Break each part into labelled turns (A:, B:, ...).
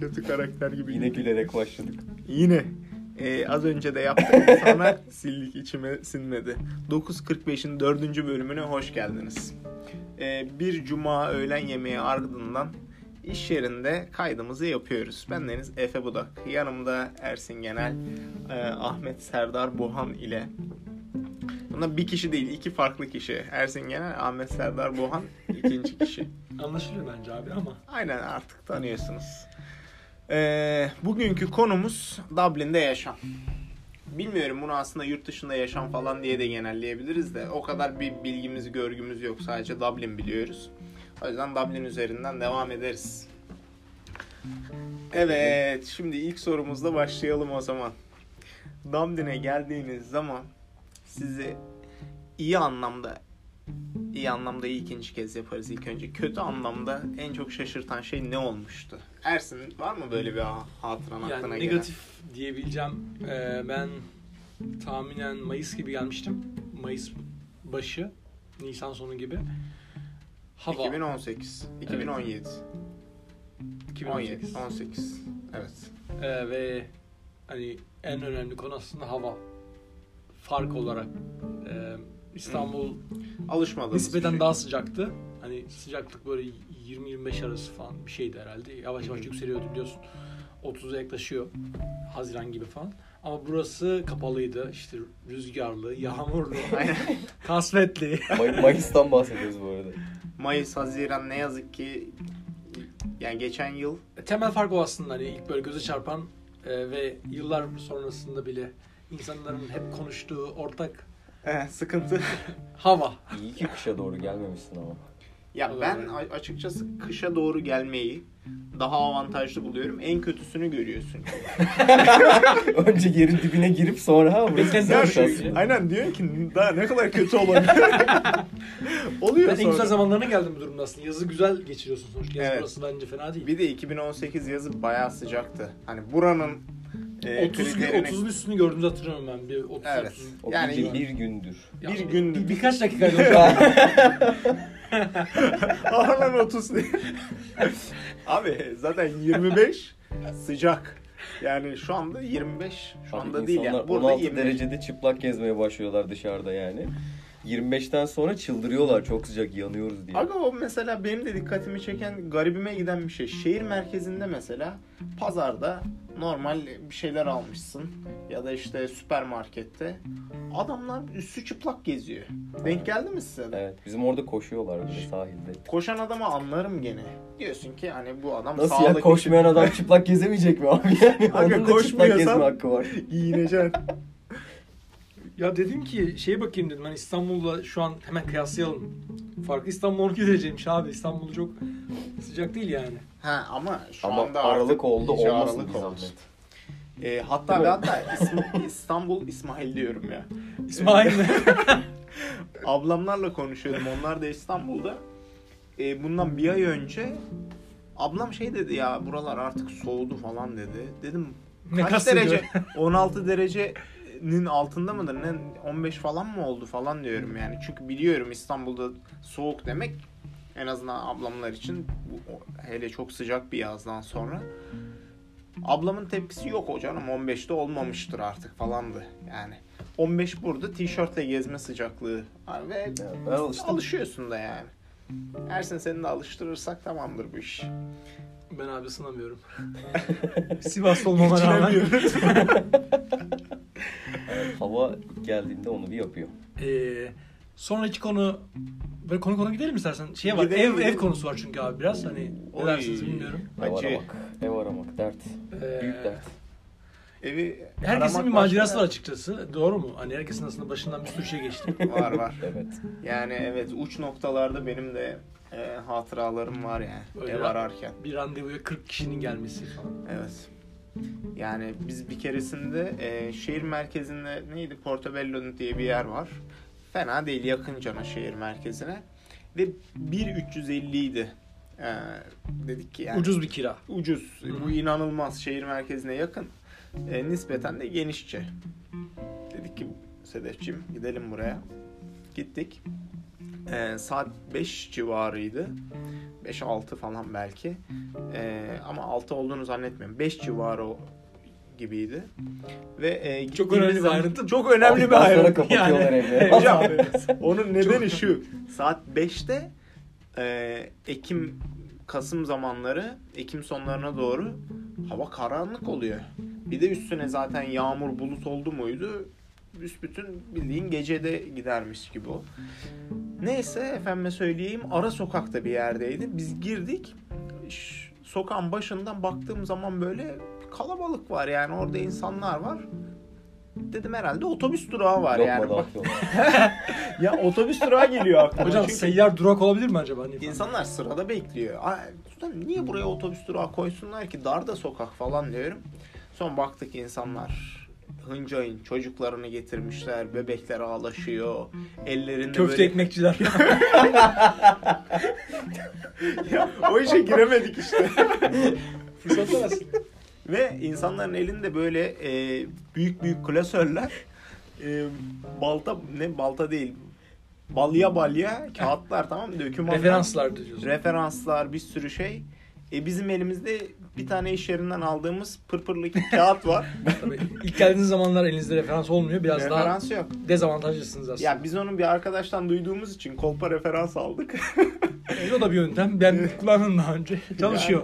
A: Kötü karakter gibi.
B: Yine gülerek başladık.
A: Yine. Ee, az önce de yaptığımız sana sildik içime sinmedi. 9.45'in 4. bölümüne hoş geldiniz. Ee, bir cuma öğlen yemeği ardından iş yerinde kaydımızı yapıyoruz. Ben Deniz Efe Budak. Yanımda Ersin Genel, e, Ahmet Serdar Bohan ile Bunlar bir kişi değil, iki farklı kişi. Ersin Genel, Ahmet Serdar Bohan ikinci kişi.
C: Anlaşılıyor bence abi ama.
A: Aynen artık tanıyorsunuz. Ee, bugünkü konumuz Dublin'de yaşam. Bilmiyorum bunu aslında yurt dışında yaşam falan diye de genelleyebiliriz de o kadar bir bilgimiz görgümüz yok sadece Dublin biliyoruz. O yüzden Dublin üzerinden devam ederiz. Evet şimdi ilk sorumuzla başlayalım o zaman. Dublin'e geldiğiniz zaman sizi iyi anlamda İyi anlamda iyi ikinci kez yaparız ilk önce. Kötü anlamda en çok şaşırtan şey ne olmuştu? Ersin var mı böyle bir ha- hatıran
C: Yani
A: aklına gelen?
C: negatif diyebileceğim. Ee, ben tahminen Mayıs gibi gelmiştim. Mayıs başı, Nisan sonu gibi. Hava
A: 2018, 2017,
C: 2018.
A: 17, 18. Evet.
C: Ee, ve hani en önemli konu aslında hava. Fark olarak ee, İstanbul
A: Alışmadığımız bir
C: nispeten
A: şey.
C: daha sıcaktı. Hani sıcaklık böyle 20-25 arası falan bir şeydi herhalde. Yavaş yavaş yükseliyordu biliyorsun. 30'a yaklaşıyor. Haziran gibi falan. Ama burası kapalıydı. İşte rüzgarlı, yağmurlu,
A: Aynen.
C: kasvetli.
B: May- Mayıs'tan bahsediyoruz bu arada.
A: Mayıs, Haziran ne yazık ki yani geçen yıl
C: Temel fark o aslında. Hani ilk böyle göze çarpan e, ve yıllar sonrasında bile insanların hep konuştuğu ortak
A: eh, sıkıntı.
C: hava.
B: İyi ki kışa doğru gelmemişsin ama.
A: Ya ben a- açıkçası kışa doğru gelmeyi daha avantajlı buluyorum. En kötüsünü görüyorsun.
B: Önce yerin dibine girip sonra ha burası
C: Bekledim
B: güzelmiş
C: çünkü.
B: aslında.
A: Aynen diyorsun ki daha ne kadar kötü olabilir. Oluyor
C: Ben en güzel zamanlarına geldim bu durumda aslında. Yazı güzel geçiriyorsun sonuçta. Yazı
A: Evet.
C: burası bence fena değil.
A: Bir de 2018 yazı bayağı sıcaktı. Hani buranın e,
C: 30 gün,
A: kriterini-
C: 30'un üstünü gördüğümüzü hatırlıyorum ben. Bir 30,
A: Evet.
C: 30
B: O
A: Yani-
B: bir, bir gündür.
C: Ya
A: Bir
C: bir
A: gün-
C: gün bir, birkaç dakika oldu.
A: Ağırlan 30 diye. Abi zaten 25 sıcak. Yani şu anda 25. Şu
B: Abi
A: anda
B: insanlar
A: değil yani. Burada
B: 16
A: 25.
B: derecede çıplak gezmeye başlıyorlar dışarıda yani. 25'ten sonra çıldırıyorlar çok sıcak yanıyoruz diye.
A: Aga o mesela benim de dikkatimi çeken garibime giden bir şey. Şehir merkezinde mesela pazarda normal bir şeyler almışsın ya da işte süpermarkette adamlar üstü çıplak geziyor. Denk geldi mi size de?
B: Evet bizim orada koşuyorlar bir de sahilde.
A: Koşan adamı anlarım gene. Diyorsun ki hani bu adam
B: Nasıl
A: sağlık
B: ya koşmayan adam çıplak gezemeyecek mi abi? Yani
A: Aga,
B: Onun da çıplak
A: koşmuyorsan-
B: gezme hakkı var.
A: için giyineceksin.
C: ya dedim ki şeye bakayım dedim. Hani İstanbul'la şu an hemen kıyaslayalım. Farkı İstanbul 12 dereceymiş abi. İstanbul çok sıcak değil yani.
A: Ha ama şu
B: Ama
A: anda
B: aralık
A: artık
B: oldu
A: iyice
B: olmasın
A: aralık
B: bir
A: oldu.
B: zahmet.
A: Ee, hatta
B: Değil
A: ve
B: mi?
A: hatta İsm- İstanbul İsmail diyorum ya.
C: İsmail
A: Ablamlarla konuşuyordum. Onlar da İstanbul'da. Ee, bundan bir ay önce ablam şey dedi ya buralar artık soğudu falan dedi. Dedim
C: ne
A: kaç
C: kastediyor?
A: derece? 16 derecenin altında mıdır? Ne 15 falan mı oldu falan diyorum yani. Çünkü biliyorum İstanbul'da soğuk demek en azından ablamlar için bu, o- hele çok sıcak bir yazdan sonra. Ablamın tepkisi yok o canım 15'te olmamıştır artık falandı yani. 15 burada tişörtle gezme sıcaklığı var ve
B: Ya ben alıştım.
A: alışıyorsun da yani. Ersin seni de alıştırırsak tamamdır bu iş.
C: Ben abi sınamıyorum. Sivas'ta olmama rağmen.
A: Geçinemiyoruz.
B: Hava geldiğinde onu bir yapıyor.
C: Ee, sonraki konu böyle konu konu gidelim istersen. Şeye var.
A: Gidelim,
C: ev
A: gidelim.
C: ev konusu var çünkü abi biraz hani
A: Oy.
C: ne dersiniz bilmiyorum.
B: Ev
A: Acı.
B: aramak. Ev aramak dert. Büyük
C: Ee,
B: dert.
A: Evi
C: herkesin
A: aramak
C: bir macerası
A: başka-
C: var açıkçası. Doğru mu? Hani herkesin aslında başından bir sürü şey geçti.
A: Var var.
B: Evet.
A: Yani evet uç noktalarda benim de e, hatıralarım var yani
C: Öyle
A: ev
C: var.
A: ararken.
C: bir randevuya 40 kişinin gelmesi falan.
A: Evet. Yani biz bir keresinde e, şehir merkezinde neydi Portobello diye bir yer var. Fena değil yakın cana şehir merkezine. Ve 1.350 idi. E, dedik ki yani
C: Ucuz bir kira.
A: ucuz.
C: Hı.
A: Bu inanılmaz. Şehir merkezine yakın. E, nispeten de genişçe. Dedik ki Sedefciğim gidelim buraya. Gittik. Ee, saat 5 civarıydı. 5-6 falan belki. Ee, ama 6 olduğunu zannetmiyorum. 5 civarı o- gibiydi. Ve e,
C: Çok önemli
A: gittiğimiz
C: bir ayrıntı.
A: Çok önemli bir
B: Ondan sonra
A: ayrıntı.
B: kapatıyorlar evleri.
A: Hocam onun nedeni şu. Saat 5'te e, Ekim Kasım zamanları Ekim sonlarına doğru hava karanlık oluyor. Bir de üstüne zaten yağmur bulut oldu muydu? Büsbütün bildiğin gecede gidermiş gibi o. Neyse efendime söyleyeyim ara sokakta bir yerdeydi. Biz girdik. Ş- Sokağın başından baktığım zaman böyle kalabalık var yani orada insanlar var. Dedim herhalde otobüs durağı var yani. Bak,
B: Lokma da
A: ya otobüs durağı geliyor aklıma.
C: Hocam
A: Çünkü
C: seyyar durak olabilir mi acaba? Hani
A: insanlar sırada bekliyor. Ay, ulan niye buraya otobüs durağı koysunlar ki darda sokak falan diyorum. Son baktık insanlar hınca hınç çocuklarını getirmişler. Bebekler ağlaşıyor. Ellerinde
C: Köfte
A: böyle...
C: ekmekçiler.
A: Ya, o işe giremedik işte.
C: Fırsat versin.
A: Ve insanların elinde böyle e, büyük büyük klasörler, e, balta ne balta değil, balya balya kağıtlar tamam mı? Dökümanlar,
C: Referanslar diyoruz.
A: referanslar bir sürü şey. E, bizim elimizde bir tane iş yerinden aldığımız pırpırlı kağıt var.
C: Tabii ilk geldiğiniz zamanlar elinizde referans olmuyor. Biraz daha
A: referans yok.
C: dezavantajlısınız aslında.
A: Ya biz onun bir arkadaştan duyduğumuz için kolpa referans aldık.
C: Yani o da bir yöntem. Ben kullandım daha önce. Çalışıyor.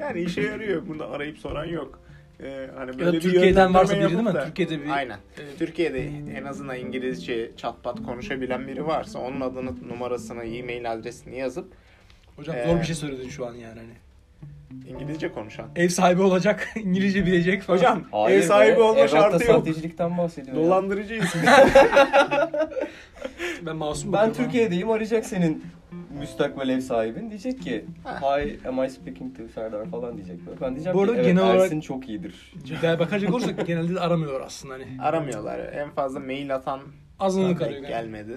A: yani işe yarıyor. Bunu arayıp soran yok. E, hani
C: ya da
A: bir
C: Türkiye'den
A: yönlendirme
C: varsa biri değil
A: yapıp
C: mi?
A: da-
C: Türkiye'de bir
A: Aynen.
C: Evet.
A: Türkiye'de en azından İngilizce çatpat konuşabilen biri varsa onun adını, numarasını, e-mail adresini yazıp
C: Hocam
A: Ee,
C: zor bir şey söyledin şu an yani. Hani.
A: İngilizce konuşan.
C: Ev sahibi olacak, İngilizce bilecek falan.
A: Hocam ev sahibi olma şartı yok.
B: sahtecilikten bahsediyor. ya.
A: Dolandırıcı isim.
C: ben
B: Ben
C: masum bakıyorum
B: Türkiye'deyim arayacak senin müstakbel ev sahibin. Diyecek ki
A: Ha.
B: hi am I speaking to Serdar falan diyecek. böyle. Ben diyeceğim
C: Bu
B: ki
C: arada
B: evet
C: genel olarak-
B: Ersin çok iyidir.
C: ama. Bir daha bakacak olursak genelde de aramıyorlar aslında hani.
A: Aramıyorlar. En fazla mail atan
C: Azınlık arıyor.
A: denk
C: yani.
A: gelmedi.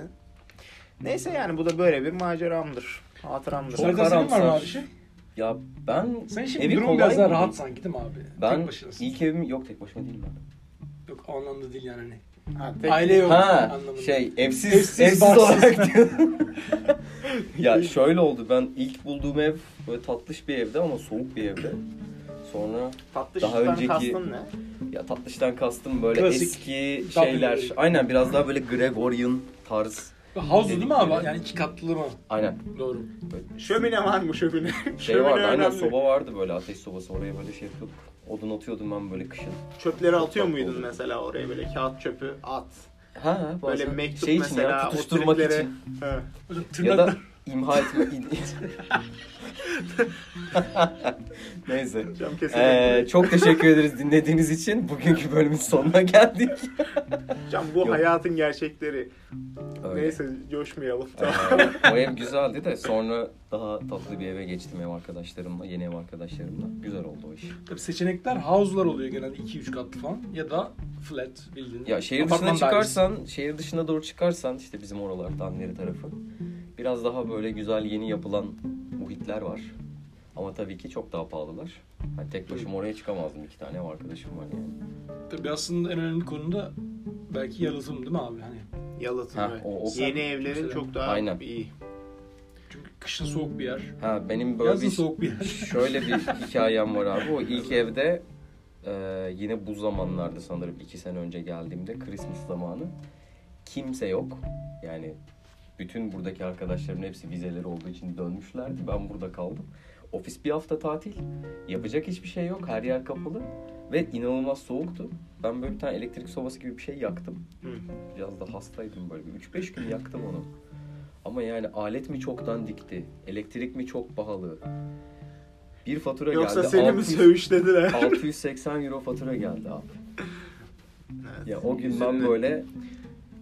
A: Neyse yani bu da böyle bir maceramdır. Hatıramdır.
B: Çok
C: Serkan senin var mı
B: karamsar.
C: abi şey?
B: Ya ben
C: Sen şimdi
B: Evi
C: durum
B: kolay
C: biraz daha
B: buldum.
C: rahat sanki değil mi abi?
B: ben
C: Tek başınasın.
B: ilk evim yok tek başıma değilim ben.
C: Yok o anlamda değil yani hani.
A: Ha, tek-
C: Aile yok
B: Ha
C: anlamında.
B: şey evsiz
C: Evsiz,
B: evsiz,
C: barksız.
B: olarak diyor. ya şöyle oldu ben ilk bulduğum ev böyle tatlış bir evde ama soğuk bir evde. Sonra
A: Tatlı
B: Daha
A: şişten
B: önceki-
A: kastın ne?
B: ya tatlıştan kastım böyle
C: Klasik
B: eski
C: Dublin
B: şeyler.
C: evi.
B: Aynen biraz daha böyle Gregorian tarz.
C: Havuzlu değil mi abi? Yani iki katlı mı?
B: Aynen.
C: Doğru.
A: Şömine var mı şömine?
B: Şey vardı aynen
A: önemli.
B: soba vardı böyle ateş sobası oraya böyle şey yapıyorduk. Odun atıyordum ben böyle kışın.
A: Çöpleri atıyor
B: tatlı
A: muydun
B: oldu.
A: mesela oraya böyle kağıt çöpü at.
B: Ha
A: Böyle
B: bazen
A: mektup
B: şey için
A: mesela
B: ya tutuşturmak
A: o triplere-
B: için.
A: He.
C: Hocam
B: Ya da
C: tırnaklar.
B: imha etme. Neyse.
A: Hocam kesin.
B: Ee, çok teşekkür ederiz dinlediğiniz için. Bugünkü bölümün sonuna geldik.
A: Hocam bu
B: Yok.
A: hayatın gerçekleri.
B: Öyle.
A: Neyse coşmayalım.
B: Ee,
A: Tamam.
B: o ev güzeldi de sonra daha tatlı bir eve geçtim ev arkadaşlarımla, yeni ev arkadaşlarımla. Güzel oldu o iş.
C: Tabii seçenekler havuzlar oluyor genelde 2-3 katlı falan. Ya da flat bildiğin.
B: Ya şehir
C: apartman
B: dışına
C: dairesi.
B: çıkarsan, şehir dışına doğru çıkarsan işte bizim oralardan beri tarafı. Biraz daha böyle güzel yeni yapılan muhitler var. Ama tabii ki çok daha pahalılar. Hani tek başıma oraya çıkamazdım. iki tane ev arkadaşım var yani.
C: Tabii aslında en önemli konu da belki yalıtım değil mi abi? Hani
A: Yalıtım
B: Ha,
A: evet.
B: o- o-
A: Yeni evlerin
C: Mesela.
A: çok daha
B: Aynen.
A: iyi.
C: çünkü kışın soğuk bir yer.
B: Ha benim böyle
C: Yazın
B: bir
C: soğuk bir yer.
B: Şöyle bir hikayem var abi. O ilk evde e, yine bu zamanlarda sanırım iki sene önce geldiğimde Christmas zamanı kimse yok. Yani bütün buradaki arkadaşlarımın hepsi vizeleri olduğu için dönmüşlerdi. Ben burada kaldım. Ofis bir hafta tatil. Yapacak hiçbir şey yok. Her yer kapalı. Ve inanılmaz soğuktu. Ben böyle bir tane elektrik sobası gibi bir şey yaktım.
A: Hı.
B: Biraz da hastaydım böyle. Bir 3-5 gün yaktım onu. Ama yani alet mi çoktan dikti? Elektrik mi çok pahalı? Bir fatura
A: Yoksa
B: geldi.
A: seni mi
B: 600
A: söğüşlediler?
B: 680 euro fatura geldi abi.
A: Evet.
B: Ya o gün ben
A: Üzerine-
B: böyle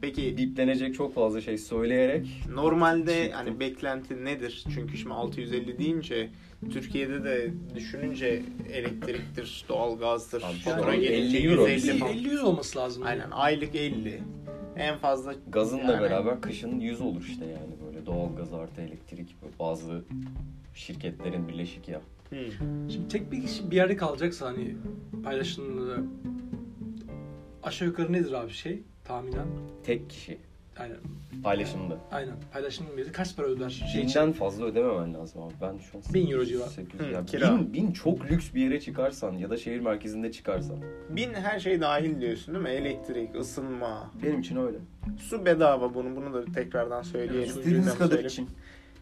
A: Peki
B: diplenecek çok fazla şey söyleyerek
A: normalde
B: Çıktım.
A: hani beklenti nedir? Çünkü şimdi 650 deyince Türkiye'de de düşününce elektriktir, doğalgazdır.
B: Abi,
A: fatura
B: sonra
A: gelince
B: 50 euro
A: 150
B: bizim.
A: falan.
C: 50 100 olması lazım.
A: Aynen aylık 50. En fazla
B: gazınla
A: Yani.
B: beraber kışın 100 olur işte yani böyle doğal gaz artı elektrik böyle bazı şirketlerin birleşik ya.
A: Hı.
C: Şimdi tek bir kişi bir yerde kalacaksa hani paylaşımda aşağı yukarı nedir abi şey tahminen?
B: Tek kişi.
C: Ha, Aynen.
B: Paylaşımda.
C: Aynen. Paylaşımın biri kaç para öder? Şey için.
B: Binden fazla ödememen lazım abi. Ben şu an...
C: 1000 euro civarı.
B: 800
A: Hı,
B: ya.
A: kira.
B: Bin, bin çok lüks bir yere çıkarsan ya da şehir merkezinde çıkarsan.
A: Bin her şey dahil diyorsun değil mi? Elektrik, ısınma,
B: Benim için öyle.
A: su bedava bunu. Bunu da tekrardan söyleyelim.
C: Evet,
B: İstediğiniz
A: Gündem
B: kadar
A: söyleyeyim.
B: için.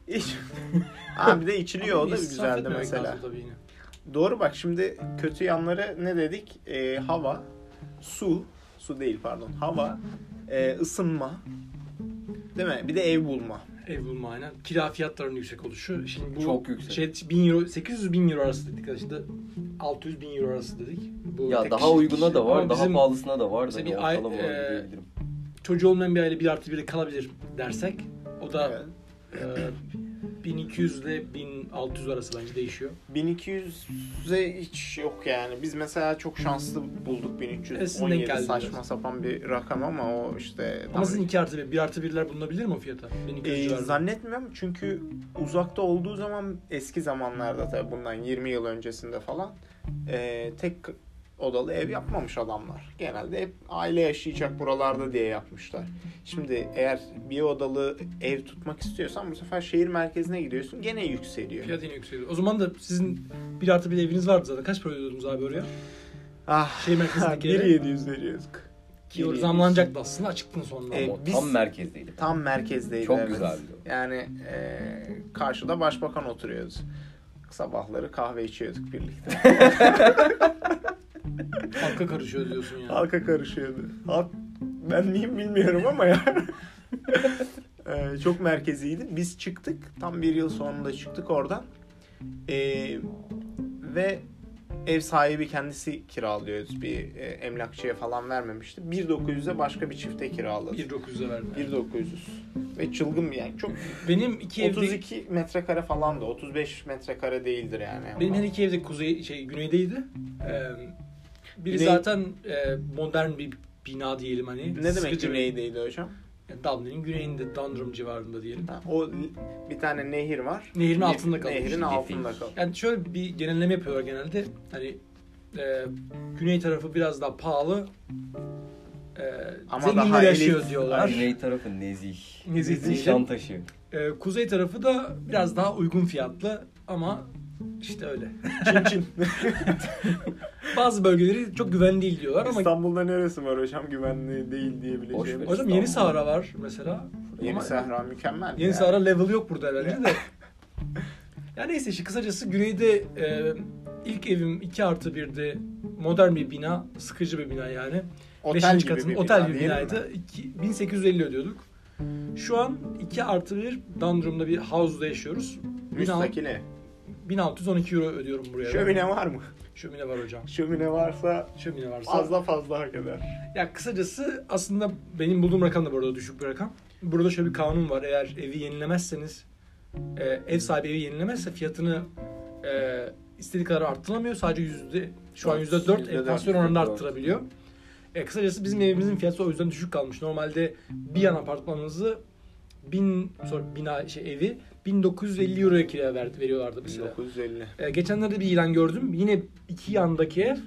A: İç- Abi bir de içiliyor o da
C: İsraf
A: güzeldi
C: etmemek
A: mesela.
C: lazım tabii yine.
A: Doğru bak şimdi kötü yanları ne dedik? Ee, hava, su, su değil pardon, hava, e, ısınma, değil mi? Bir de ev bulma.
C: Ev bulma aynen. Kira fiyatlarının yüksek oluşu. Şimdi bu
B: Çok yüksek.
C: Şey, 1000 euro, 800 bin euro arası dedik. Şimdi 600 bin euro arası dedik. Bu
B: Ya
C: tek
B: daha
C: kişilik
B: uyguna
C: kişi.
B: da var,
C: Ama
B: daha
C: bizim
B: pahalısına da var da
C: Mesela
B: bir
C: bir ay- e,
B: ortalama
C: eee,
B: olarak diyebilirim.
C: Çocuğu olmayan bir aile 1 artı 1'de kalabilir dersek o da e,
A: Evet.
C: eee, 1200 ile 1600 arası bence değişiyor.
A: 1200'e hiç yok yani. Biz mesela çok şanslı bulduk
C: Esin'den
A: 1317
C: geldi
A: saçma
C: biraz.
A: sapan bir rakam ama o işte tam-
C: Ama sizin 2 artı 1, 1 artı 1'ler bulunabilir mi o fiyata? 1200
A: Ee,
C: civarında.
A: zannetmiyorum çünkü uzakta olduğu zaman eski zamanlarda tabii bundan 20 yıl öncesinde falan ee, tek odalı ev yapmamış adamlar. Genelde hep aile yaşayacak buralarda diye yapmışlar. Şimdi eğer bir odalı ev tutmak istiyorsan bu sefer şehir merkezine gidiyorsun gene yükseliyor.
C: Fiyat yine yükseliyor. O zaman da sizin 1 artı 1 eviniz vardı zaten. Kaç para ödüyordunuz abi oraya?
A: Ah,
C: Şehir merkezindeki eve.
A: 1700 veriyorduk.
C: Ki o
A: Geliyor.
C: zamlanacaktı aslında açıktın sonra.
A: Ee,
B: Ama
A: biz-
B: Tam merkezdeydi.
A: Tam merkezdeydi.
B: Çok
A: evet.
B: güzeldi o.
A: Yani e, karşıda başbakan oturuyordu. Sabahları kahve içiyorduk birlikte.
C: Halka karışıyor diyorsun yani.
A: Halka karışıyordu. Halk ben miyim bilmiyorum ama ya. E, çok merkeziydi. Biz çıktık. Tam bir yıl sonunda çıktık oradan. E, ve ev sahibi kendisi kiralıyoruz. Bir e, emlakçıya falan vermemişti. 1.900'e başka bir çifte kiraladı.
C: 1900'e verdim.
A: 1.900. Ve çılgın bir yani. Çok
C: Benim iki evde
A: 32 metrekare falan da 35 metrekare değildir yani.
C: benim her iki evde kuzey şey güneydeydi. Ee, biri
A: Güney-
C: zaten e, modern bir bina diyelim hani.
A: ne demek
C: Sıkıcı bir-
A: güneydeydi hocam?
C: Yani Dublin'in güneyinde Dundrum civarında diyelim.
A: Ha, o bir tane nehir var.
C: Nehirin
A: Ne-
C: altında kalmış.
A: Nehrin altında kalmış.
C: Yani şöyle bir genelleme yapıyorlar genelde. Hani e, güney tarafı biraz daha pahalı. E,
A: Ama daha
C: zenginler yaşıyor
A: elit-
C: diyorlar.
B: Güney tarafı nezih.
C: Nezih.
B: Nişantaşı.
C: E, kuzey tarafı da biraz daha uygun fiyatlı ama işte öyle.
A: Çin Çin.
C: Bazı bölgeleri çok güvenli değil diyorlar ama
A: İstanbul'da neresi var hocam güvenli değil
B: Boş
A: diyebileceğim.
B: ver.
C: Hocam Yeni Sahra var mesela.
A: Yeni
C: Ama
A: Sahra mükemmel.
C: Yeni
A: yani.
C: Sahra level yok burada herhalde de. ya neyse işte kısacası güneyde e, ilk evim 2 artı 1'de modern bir bina, sıkıcı bir bina yani.
A: otel
C: Beşinci
A: gibi
C: katın-
A: bir
C: otel
A: bina
C: gibi
A: diyelim mi?
C: binaydı. İki- 1850 ödüyorduk. Şu an 2 artı 1 Dandrum'da bir house'da yaşıyoruz.
A: Müstakil ev.
C: 1612 euro ödüyorum buraya.
A: Şömine var mı?
C: Şömine var hocam.
A: Şömine varsa
C: Şömine varsa.
A: fazla fazla hak eder.
C: Ya kısacası aslında benim bulduğum rakam da bu arada düşük bir rakam. Burada şöyle bir kanun var. Eğer evi yenilemezseniz, e, ev sahibi evi yenilemezse fiyatını e, istediği kadar arttıramıyor. Sadece yüzde, şu an yüzde dört
B: Yüzde dört,
C: enflasyon
B: yüzde
C: oranında
B: dört.
C: arttırabiliyor. E, kısacası bizim evimizin fiyatı o yüzden düşük kalmış. Normalde bir yan apartmanımızı bin, sorry, bina, şey, evi 1950 euroya kiraya verdi, veriyorlardı mesela.
A: 1950.
C: E, geçenlerde bir ilan gördüm. Yine iki yandaki ev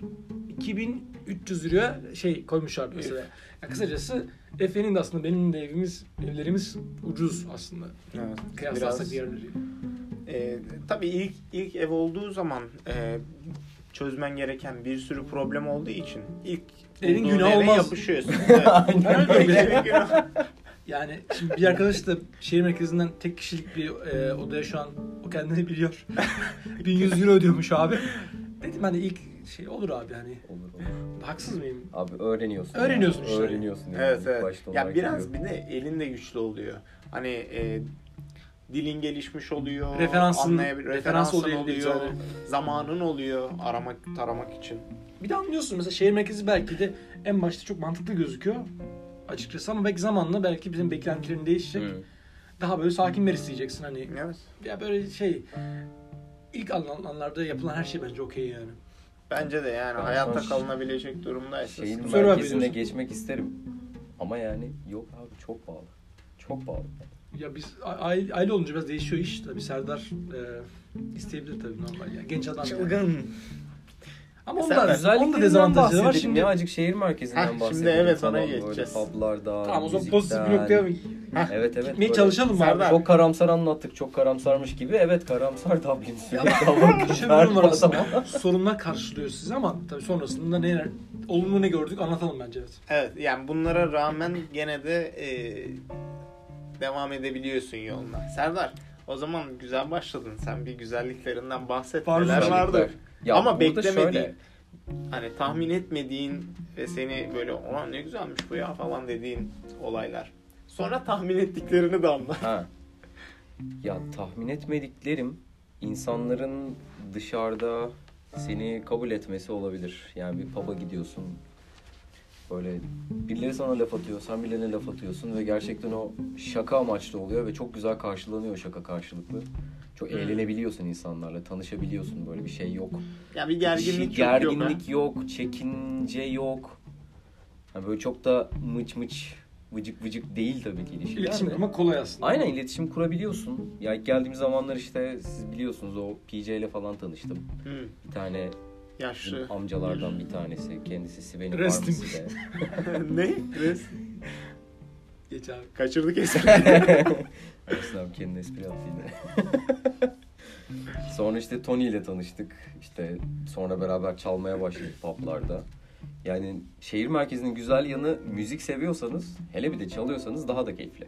C: 2300 liraya şey koymuşlar mesela. Ya kısacası Efe'nin de aslında benim de evimiz, evlerimiz ucuz aslında.
A: Evet.
C: Kıyaslarsak diğerleri.
A: E, tabii ilk ilk ev olduğu zaman e, çözmen gereken bir sürü problem olduğu için ilk
C: Elin
A: bulduğun
C: günahı
A: eve
C: olmaz.
A: yapışıyorsun. Evet.
B: Aynen
A: Öyle değil, elin günahı.
C: Yani şimdi bir arkadaş da şehir merkezinden tek kişilik bir e, odaya şu an o kendini biliyor. 1100 euro ödüyormuş abi. Dedim hani ilk şey olur abi hani
B: Olur olur.
C: haksız mıyım?
B: Abi öğreniyorsun.
C: Öğreniyorsun işte.
B: Öğreniyorsun. yani.
A: evet
B: İlk
A: evet.
B: başta
A: Ya
B: olarak
A: biraz
B: geliyor.
A: bir de elin de güçlü oluyor. Hani e, dilin gelişmiş oluyor.
C: Referansın-
A: anlayabil-
C: referans
A: referansın
C: oluyor elinde
A: oluyor.
C: güzel.
A: Zamanın oluyor aramak taramak için.
C: Bir de anlıyorsun mesela şehir merkezi belki de en başta çok mantıklı gözüküyor açıkçası ama belki zamanla belki bizim beklentilerin değişecek.
B: Hı.
C: Daha böyle sakin bir isteyeceksin hani.
A: Evet.
C: Ya böyle şey ilk anlarda yapılan her şey bence okey yani.
A: Bence de yani
B: Ben
A: hayatta
B: son-
A: kalınabilecek durumdaysa.
B: Şehir
C: Survive
B: merkezine
C: ediyorsun.
B: geçmek isterim. Ama yani yok abi çok pahalı. Çok pahalı.
C: Ya biz a- aile, aile olunca biraz değişiyor iş. Tabii Serdar e, isteyebilir tabii normal. ya genç adam. yani.
A: Çılgın.
C: Ama
A: Mesela
C: onda, onda
B: Güzelliklerinden
C: dezavantajları var.
B: bahsedelim
C: Şimdi
B: ya azıcık şehir merkezinden
A: Heh, şimdi
B: bahsedelim.
A: evet,
B: falan,
A: oraya
B: böyle
A: geçeceğiz.
B: Publarda,
C: tamam o zaman
B: müzikten.
C: pozitif bir noktaya mı
B: Evet evet.
C: gitmeye
B: böyle-
C: çalışalım mı abi?
A: Serdar.
B: Çok karamsar anlattık. Çok karamsarmış gibi. Evet karamsar Dublin. Sürekli
C: Şöyle bir durum var
B: Avrupa
C: aslında. Sorunlar karşılıyor sizi ama tabii sonrasında neler, olumlu ne gördük anlatalım bence evet.
A: Evet yani bunlara rağmen gene de e, devam edebiliyorsun yoluna. Serdar o zaman güzel başladın. Sen bir güzelliklerinden bahset.
C: Var
A: Neler
C: güzellikler.
A: vardı?
B: Ya
A: Ama
B: burada
A: beklemediğin-
B: şöyle,
A: Hani tahmin etmediğin ve seni böyle ulan ne güzelmiş bu ya falan dediğin olaylar. Sonra tahmin ettiklerini de anla.
B: Ha. Ya tahmin etmediklerim insanların dışarıda seni kabul etmesi olabilir. Yani bir pub'a gidiyorsun. Böyle birileri sana laf atıyor, sen birilerine laf atıyorsun ve gerçekten o şaka amaçlı oluyor ve çok güzel karşılanıyor şaka karşılıklı. Çok
A: Hmm.
B: eğlenebiliyorsun insanlarla, tanışabiliyorsun böyle bir şey yok.
A: Ya bir gerginlik
B: Hiç
A: çok yok. ha.
B: gerginlik yok, çekince yok. Yani böyle çok da mıç mıç, vıcık vıcık değil tabii ki ilişkiler.
C: İletişim
B: de.
C: kurmak kolay aslında.
B: Aynen iletişim kurabiliyorsun. Ya ilk geldiğim zamanlar işte siz biliyorsunuz o PJ ile falan tanıştım.
A: Hı,
B: Bir tane
A: yaşlı.
B: amcalardan bir tanesi. Kendisi Sven'in
C: Şey. Rest in
B: Farms'ı
A: ne? Biz
C: Geç abi.
A: kaçırdık eseri.
B: Ersin abi kendini espri yaptı yine. sonra işte Tony ile tanıştık. İşte sonra beraber çalmaya başladık publarda. Yani şehir merkezinin güzel yanı müzik seviyorsanız hele bir de çalıyorsanız daha da keyifli.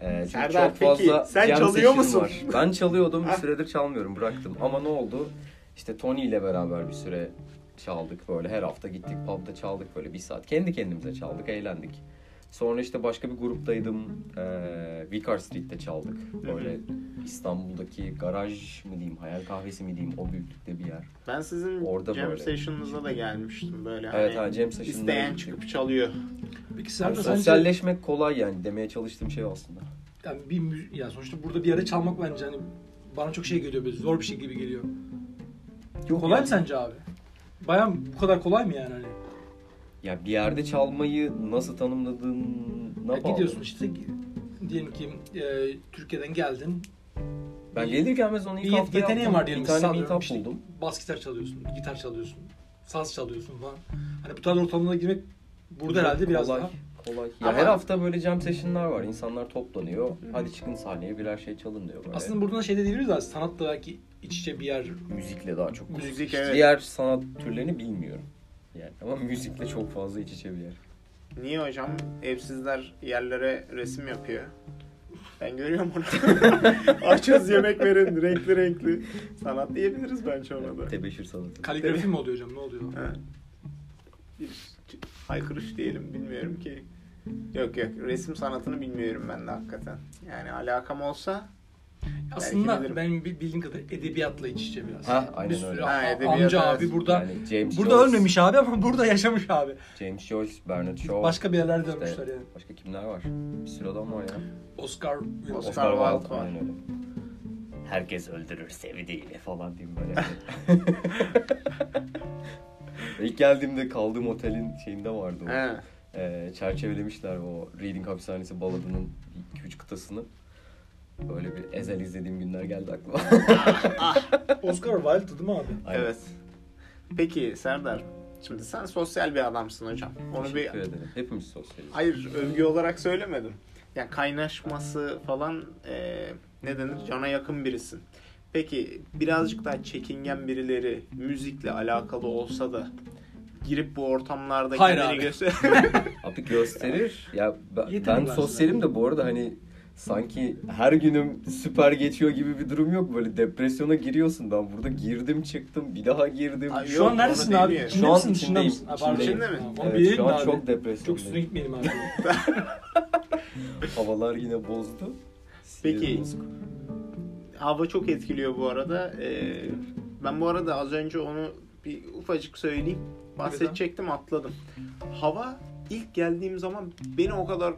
B: Ee, çünkü
A: Serdar, peki sen
B: jam
A: çalıyor
B: session
A: musun?
B: var. Ben çalıyordum bir
A: Ha?
B: süredir çalmıyorum bıraktım ama ne oldu? İşte Tony ile beraber bir süre çaldık böyle her hafta gittik pub'da çaldık böyle bir saat kendi kendimize çaldık eğlendik. Sonra işte başka bir gruptaydım. Ee, Vicar Street'te çaldık. Böyle İstanbul'daki garaj mı diyeyim, hayal kahvesi mi diyeyim o büyüklükte bir yer.
A: Ben sizin
B: Orada
A: jam
B: böyle.
A: session'ınıza da gelmiştim böyle.
B: Evet
A: hani
B: ha Cem Session'da
A: isteyen çıkıp çalıyor.
C: Peki Serdar sence
B: sosyalleşmek kolay yani demeye çalıştığım şey aslında.
C: yani bir mü- yani sonuçta burada bir yere çalmak bence hani bana çok şey geliyor böyle zor bir şey gibi geliyor.
B: Yok
C: kolay
B: yani.
C: mı sence abi? Bayan bu kadar kolay mı yani hani?
B: Ya bir yerde çalmayı nasıl tanımladığına
C: Ya
B: bağlı.
C: gidiyorsun işte diyelim ki e, Türkiye'den geldin.
B: Ben gelir gelmez onu ilk
C: Bir
B: hafta
C: yeteneğin
B: yaptım.
C: var diyelim. şey,
B: Bir tane
C: sallıyorum
B: meetup
C: işte
B: buldum.
C: Bas gitar çalıyorsun, gitar çalıyorsun, saz çalıyorsun falan. Hani bu tarz ortamlara girmek burada herhalde biraz
B: kolay,
C: daha
B: Kolay. Ya
A: Ama-
B: her hafta böyle jam session'lar var. İnsanlar toplanıyor. Hadi çıkın sahneye birer şey çalın diyor böyle.
C: Aslında buradan şey de diyebiliriz abi sanatla belki iç içe bir yer.
B: müzikle daha çok.
A: Müzik,
B: İşte
A: evet.
B: Diğer sanat türlerini bilmiyorum. Yani ama müzikle çok fazla iç içe bir yer.
A: Niye hocam? Evsizler yerlere resim yapıyor. Ben görüyorum onu. Açız yemek verin renkli renkli. Sanat diyebiliriz bence ona da.
B: Tebeşir sanatı.
C: Kaligrafi mi oluyor hocam ne oluyor?
A: Ha. Bir haykırış diyelim bilmiyorum ki. Yok yok resim sanatını bilmiyorum ben de hakikaten. Yani alakam olsa
C: Aslında
A: bilirim.
C: benim bi- bildiğim kadarıyla edebiyatla iç içe biraz.
B: Ha, aynen
C: bir sürü
B: öyle.
C: a-
A: Ha, edebiyat,
C: amca
A: evet.
C: abi burada
B: Yani şey James
C: burada
B: Joyce,
C: ölmemiş abi ama burada yaşamış abi.
B: James Joyce, Bernard Shaw.
C: Başka bir yerlerde
B: işte
C: ölmüşler yani.
B: Başka kimler var? Bir sürü adam var ya.
C: Oscar Wilde.
A: Oscar Wilde var.
B: aynen öyle. Herkes öldürür sevdiğini falan diyeyim böyle. İlk geldiğimde kaldığım otelin şeyinde vardı o.
A: he.
B: Ee, çerçevelemişler o Reading Hapishanesi baladının 2-3 kıtasını. Böyle bir ezel izlediğim günler geldi aklıma.
A: Ah,
C: Oscar Wilde değil mi abi?
B: Aynen.
A: evet. Peki Serdar şimdi sen sosyal bir adamsın hocam. Onu bir
B: Teşekkür ederim. Hepimiz sosyaliz.
A: Hayır övgü olarak söylemedim. Yani kaynaşması falan e, ne denir cana yakın birisin. Peki birazcık daha çekingen birileri müzikle alakalı olsa da girip bu ortamlarda
C: Hayır
A: kendini
C: abi.
A: göster.
B: Abi gösterir. Ya ben,
C: Yetenek
B: ben
C: var
B: sosyalim de bu arada hani sanki her günüm süper geçiyor gibi bir durum yok. Böyle depresyona giriyorsun. Ben burada girdim çıktım bir daha girdim.
A: Ay,
B: Şu-
C: Şu
A: Yok,
C: an neredesin
A: orada
C: abi?
A: değil.
C: İçinde
B: Şu an
C: misin? Dışında
B: içindeyim.
C: mısın? Ha, pardon.
A: İçinde mi?
C: Ha, Onu
B: Evet,
C: bilelim
B: şu
C: mi
B: an
C: abi?
B: çok
C: Çok
B: depresyondayım.
C: üstüne gitmeyelim abi.
B: Havalar yine bozdu.
A: Peki.
B: Sinirim bozuk.
A: Hava çok etkiliyor bu arada. E, ben bu arada az önce onu bir ufacık söyleyeyim. Bahsedecektim atladım. Hava ilk geldiğim zaman beni o kadar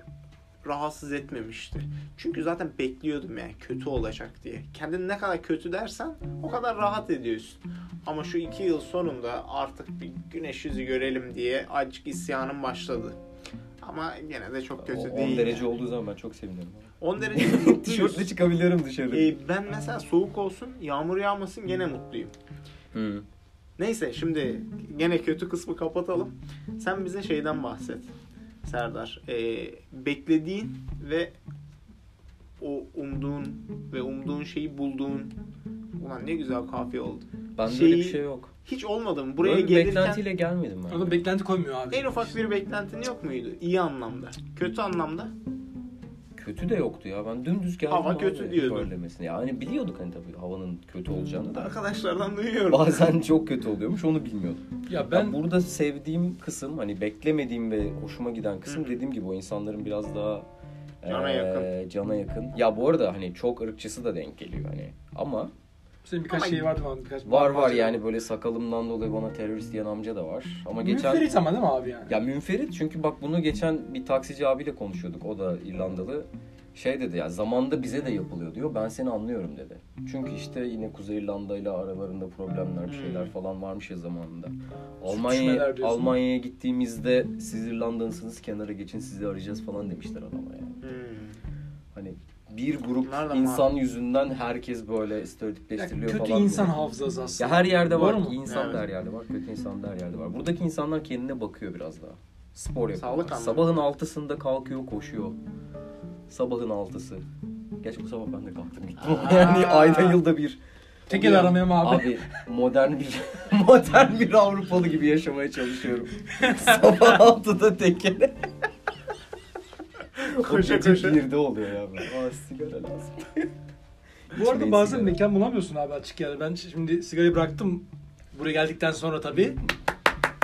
A: rahatsız etmemişti. Çünkü zaten bekliyordum yani kötü olacak diye. Kendini ne kadar kötü dersen o kadar rahat ediyorsun. Ama şu iki yıl sonunda artık bir güneş yüzü görelim diye acık isyanım başladı. Ama gene de çok kötü
B: O- 10
A: değil.
B: derece olduğu zaman ben çok sevinirim.
A: 10 derece mutluyuz.
B: Tişörtle çıkabiliyorum dışarı.
A: Ee, ben mesela soğuk olsun, yağmur yağmasın gene mutluyum.
B: Hı.
A: Neyse şimdi gene kötü kısmı kapatalım. Sen bize şeyden bahset Serdar. Ee, beklediğin ve o umduğun ve umduğun şeyi bulduğun ulan ne güzel kafiye oldu.
B: Bende
A: Şeyi-
B: öyle bir şey yok.
A: Hiç olmadım. Buraya
B: Buraya Böyle bir
A: gelirken
B: beklentiyle gelmedim ben.
C: Adam beklenti koymuyor abi.
A: en ufak bir beklentin yok muydu? İyi anlamda. Kötü anlamda.
B: Kötü de yoktu ya. Ben dümdüz geldim.
A: Hava
B: abi
A: kötü diyordun.
B: söylemesine. Yani biliyorduk hani tabii havanın kötü olacağını da.
A: Arkadaşlardan duyuyorum.
B: Bazen çok kötü oluyormuş onu bilmiyordum.
C: Ya
B: Ben
C: ben
B: burada sevdiğim kısım hani beklemediğim ve hoşuma giden kısım
A: Hı hı.
B: dediğim gibi o insanların biraz daha
A: Cana
B: eee,
A: yakın.
B: cana yakın. Ya bu arada hani çok ırkçısı da denk geliyor hani. Ama
C: senin birkaç
A: Ama-
C: şey vardı falan. Birkaç
B: var var yani böyle sakalımdan dolayı bana terörist diyen amca da var. Ama geçen
C: Müferit ama değil mi abi yani?
B: Ya münferit çünkü bak bunu geçen bir taksici abiyle konuşuyorduk. O da İrlandalı. Şey dedi ya zamanda bize de yapılıyor diyor. Ben seni anlıyorum dedi. Çünkü işte yine Kuzey İrlanda ile aralarında problemler bir şeyler
A: Hmm.
B: falan varmış ya zamanında.
C: Sürtüşmeler
B: Almanya'ya
C: diyorsun.
B: Almanya'ya gittiğimizde siz İrlandalısınız kenara geçin sizi arayacağız falan demişler adama yani.
A: Hmm.
B: Hani bir grup
A: Bunlar da
B: insan yüzünden herkes böyle
C: Ya
B: stereotipleştiriliyor
C: kötü
B: falan.
C: insan
B: diyor.
C: hafızası aslında.
B: Ya her yerde var.
C: Doğru mu?
B: İyi insan
A: Evet.
B: da her yerde var. Kötü insan da her yerde var. Buradaki insanlar kendine bakıyor biraz daha. Spor
A: Sağlık
B: yapıyor.
A: anlamında.
B: Sabahın altısında kalkıyor, koşuyor. Sabahın altısı. Gerçi bu sabah ben de kalktım gittim. ama
A: Aa.
B: yani ayda yılda bir.
C: Tekel
B: Oluyor.
C: aramayalım abi.
B: Abi modern bir modern bir Avrupalı gibi yaşamaya çalışıyorum. sabah altıda tekele.
A: Koşa
B: o gece
A: koşa.
B: birde oluyor ya. böyle. Aa sigara lazım.
C: Bu arada
B: İçmeyin
C: bazen
B: sigara.
C: mekan bulamıyorsun abi açık yerde. Ben şimdi sigarayı bıraktım buraya geldikten sonra tabii.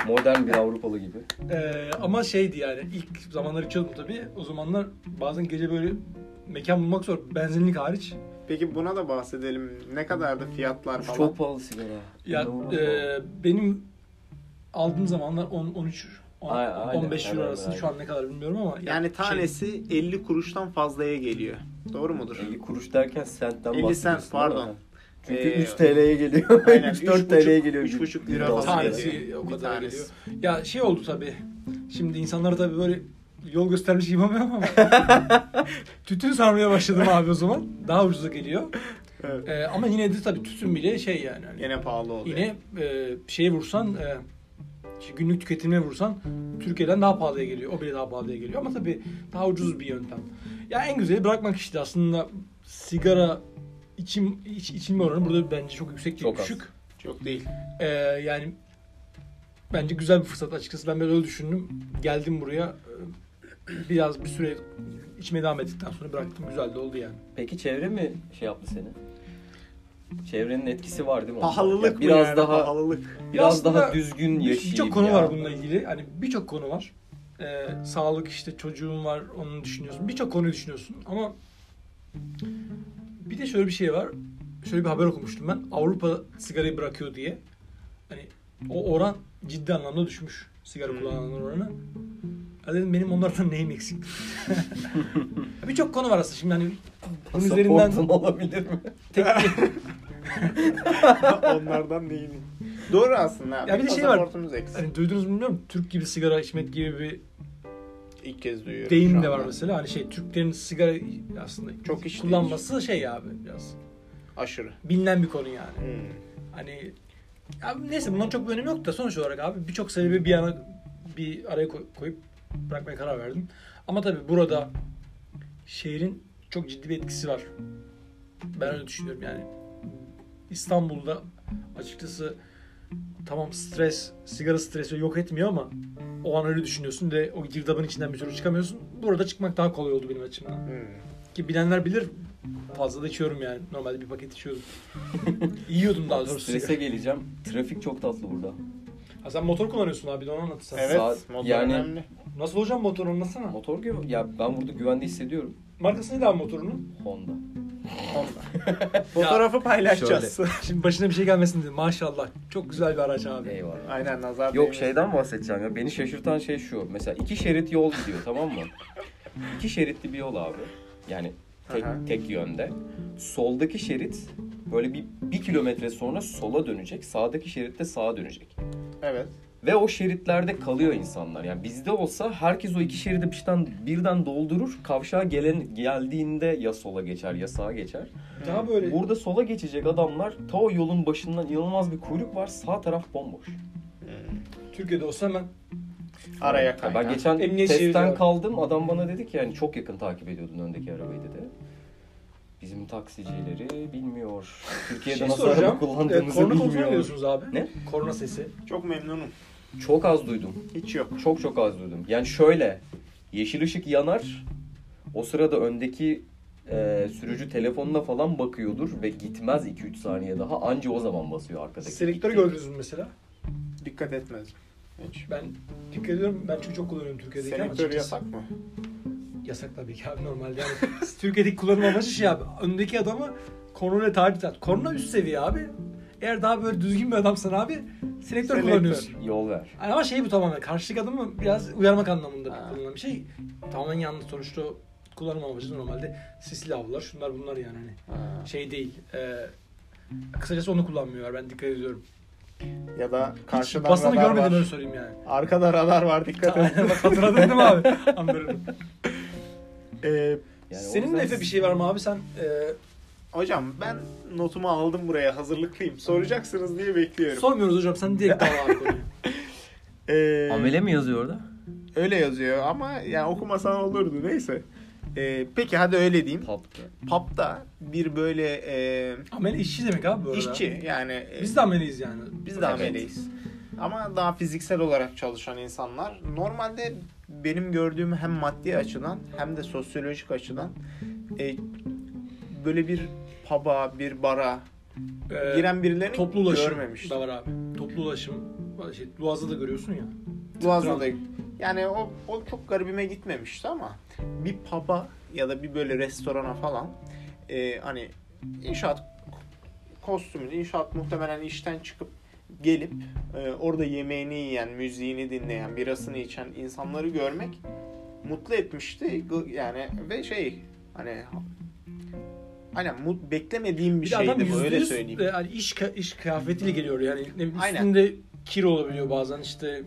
B: Modern bir Avrupalı gibi.
C: Ee, ama şeydi yani ilk zamanlar içiyordum tabii. O zamanlar bazen gece böyle mekan bulmak zor. Benzinlik hariç.
A: Peki buna da bahsedelim. Ne kadardı fiyatlar falan?
B: Çok pahalı sigara.
C: Ya
B: İnanılmaz pahalı.
C: e, benim aldığım zamanlar 10 13 on-
B: Aynen, aynen,
C: 15 euro
B: aynen,
C: arasında şu an ne kadar bilmiyorum ama
A: Yani
C: şey-
A: tanesi 50 kuruştan fazlaya geliyor. Doğru mudur?
B: 50 kuruş derken sentten
A: 50
B: bahsediyorsun,
A: cent, pardon.
B: değil mi? Çünkü
A: Ee,
B: 3 TL'ye geliyor.
A: aynen,
B: 3-4
A: üç buçuk-
B: TL'ye geliyor.
A: üç
B: bir-
A: buçuk
B: bir
A: lira falan
B: dal sigara.
A: geliyor.
C: tanesi o
A: Bir
C: kadar
A: tanesi.
C: geliyor. Ya şey oldu tabii. Şimdi insanlara tabii böyle yol göstermiş gibi yapamıyorum ama tütün sarmaya başladım abi o zaman. Daha ucuza geliyor.
A: Evet.
C: Ee, ama yine de tabii tütün bile şey yani. hani
A: Yine pahalı oluyor.
C: yine e, şeye vursan e, işte günlük tüketimine vursan Türkiye'den daha pahalıya geliyor. O bile daha pahalıya geliyor ama tabii daha ucuz bir yöntem. Ya en güzeli bırakmak işte aslında sigara içim iç, içilme oranı burada bence çok yüksek değil.
B: Çok az.
C: düşük.
A: Çok değil.
C: Ee, yani bence güzel bir fırsat açıkçası. Ben böyle öyle düşündüm. Geldim buraya. e, Biraz bir süre içmeye devam ettikten sonra bıraktım. Güzel de oldu yani.
B: Peki çevre mi şey yaptı seni? Çevrenin etkisi var değil mi?
A: Pahalılık
B: Ya
A: mı
B: biraz
A: yani?
B: daha
A: Pahalılık.
B: biraz
C: Aslında
B: daha düzgün
A: şey
B: yaşayayım.
C: Birçok konu
B: ya.
C: var bununla ilgili. Hani birçok konu var. Ee, sağlık işte çocuğun var onu düşünüyorsun. Birçok konuyu düşünüyorsun ama bir de şöyle bir şey var. Şöyle bir haber okumuştum ben. Avrupa sigarayı bırakıyor diye. Hani o oran ciddi anlamda düşmüş. Sigara
A: Hmm.
C: kullananların oranı. Ya dedim benim onlardan neyim eksik? Birçok konu var aslında şimdi hani bunun üzerinden
B: Pasaportum olabilir mi?
C: tek
A: Onlardan değil. Doğru aslında.
C: Ya bir de şey var.
A: Pasaportumuz eksik.
C: hani duydunuz mu bilmiyorum Türk gibi sigara içmek gibi bir
A: İlk kez duyuyorum. şu
C: deyim de
A: anda.
C: var mesela. Hani şey Türklerin sigara aslında
A: Çok iş
C: kullanması şey abi biraz
A: Aşırı.
C: bilinen bir konu yani.
A: Hmm.
C: Hani ya neyse bunların çok bir önemi yok da sonuç olarak abi birçok sebebi bir yana bir araya koy- koyup bırakmaya karar verdim. Ama tabii burada şehrin çok ciddi bir etkisi var. Ben öyle düşünüyorum yani. İstanbul'da açıkçası tamam stres, sigara stresi yok etmiyor ama o an öyle düşünüyorsun ve o girdabın içinden bir türlü çıkamıyorsun. Burada çıkmak daha kolay oldu benim açımdan.
A: Hmm.
C: Ki bilenler bilir fazla da içiyorum yani. Normalde bir paket içiyordum. Yiyordum daha doğrusu.
B: Strese geleceğim. Trafik çok tatlı burada.
C: Ha sen motor kullanıyorsun abi de onu anlatsan.
A: Evet.
B: Saat-
A: motor
B: yani-
A: önemli.
C: Nasıl hocam motor anlatsana.
B: Motor gibi ya ben burada güvende hissediyorum.
C: Markası neydi abi motorunun?
B: Honda.
A: Fotoğrafı paylaşacağız.
C: Şimdi başına bir şey gelmesin diye maşallah. Çok güzel bir araç abi.
B: Eyvallah.
A: Aynen nazar
B: Yok
A: değmesin.
B: şeyden bahsedeceğim ya. Beni şaşırtan şey şu. Mesela iki şerit yol gidiyor tamam mı? İki şeritli bir yol abi. Yani tek,
A: Aha.
B: tek yönde. Soldaki şerit böyle bir, bir kilometre sonra sola dönecek. Sağdaki şerit de sağa dönecek.
A: Evet.
B: Ve o şeritlerde kalıyor insanlar. Yani bizde olsa herkes o iki şeridi birden, birden doldurur. Kavşağa gelen geldiğinde ya sola geçer ya sağa geçer.
D: Daha böyle
B: Burada sola geçecek adamlar ta o yolun başından inanılmaz bir kuyruk var. Sağ taraf bomboş.
D: Türkiye'de olsa hemen
A: Araya
B: Ya
A: kaynar.
B: ben geçen
D: Emniyet şeridi
B: testten
D: var.
B: kaldım. Adam bana dedi ki yani çok yakın takip ediyordun öndeki arabayı dedi. Bizim taksicileri bilmiyor.
D: bir
B: Türkiye'de
D: şey
B: nasıl araba
D: soracağım. E,
B: kullandığımızı
D: korna kontrol
B: bilmiyor.
D: ediyorsunuz abi.
B: Ne?
D: Korna sesi.
A: Çok memnunum.
B: Çok az duydum.
A: Hiç yok.
B: Çok çok az duydum. Yani şöyle yeşil ışık yanar. O sırada öndeki e, sürücü telefonuna falan bakıyordur ve gitmez 2-3 saniye daha. Anca o zaman basıyor arkadaki.
D: Selektörü
B: İlk-
D: gördünüz mü mesela?
A: Dikkat etmez. Hiç.
D: Ben dikkat ediyorum. Ben çünkü çok kullanıyorum Türkiye'deki ama
A: Selektör
D: açıkçası-
A: yasak mı?
D: Yasak tabii ki abi normalde. Yani
C: Türkiye'deki kullanım amacı şey abi. Öndeki adamı kornaya takip et. Korna üst seviye abi. Eğer daha böyle düzgün bir adamsan abi selektör
A: Selektör.
C: kullanıyorsun.
B: Yol ver.
C: Yani ama şey bu tamamen karşıdaki adamı biraz uyarmak anlamında
A: Ha.
C: kullanılan bir şey. Tamamen yanlış sonuçta o kullanım amacı normalde sisli avlar şunlar bunlar yani hani şey değil. E, kısacası onu kullanmıyorlar ben dikkat ediyorum.
A: Ya da
C: Hiç
A: karşıdan
C: basını
A: radar
C: görmedim
A: var.
C: öyle söyleyeyim yani.
A: Arkada radar var dikkat et.
C: Aynen bak hatırladın değil mi abi? Anlıyorum.
A: Ee,
B: Yani o
D: Senin
B: yüzden-
D: de Efe bir şey var mı abi? Sen e,
A: hocam ben notumu aldım buraya hazırlıklıyım. Soracaksınız diye bekliyorum.
C: Sormuyoruz hocam sen direkt al abi konuyu.
A: Ee,
B: Amele mi yazıyor orada?
A: Öyle yazıyor ama yani okumasan olurdu neyse. Ee, peki hadi öyle diyeyim.
B: Taptı.
A: Pub'da bir böyle e,
C: Amel işçi demek abi bu arada.
A: işçi yani e,
C: Biz de ameliyiz yani.
A: biz de ameleyiz. Ama daha fiziksel olarak çalışan insanlar normalde benim gördüğüm hem maddi açıdan hem de sosyolojik açıdan e, böyle bir pub'a, bir bara
C: Ee,
A: giren birilerini
C: toplu ulaşım
A: görmemiştim.
C: da var abi. Toplu ulaşım şey, Boğaz'da da görüyorsun ya.
A: Boğaz'da da yani o, o çok garibime gitmemişti ama bir pub'a ya da bir böyle restorana falan e, hani inşaat kostümünü inşaat muhtemelen işten çıkıp gelip e, orada yemeğini yiyen, müziğini dinleyen, birasını içen insanları görmek mutlu etmişti. Gı- Yani ve şey hani hani mut, beklemediğim bir,
C: de
A: şeydi bu
C: yüzde
A: öyle
C: yüz,
A: söyleyeyim.
C: e, hani iş, ka- iş kıyafetiyle geliyor yani. Ne bileyim,
A: Aynen.
C: üstünde kir olabiliyor bazen işte.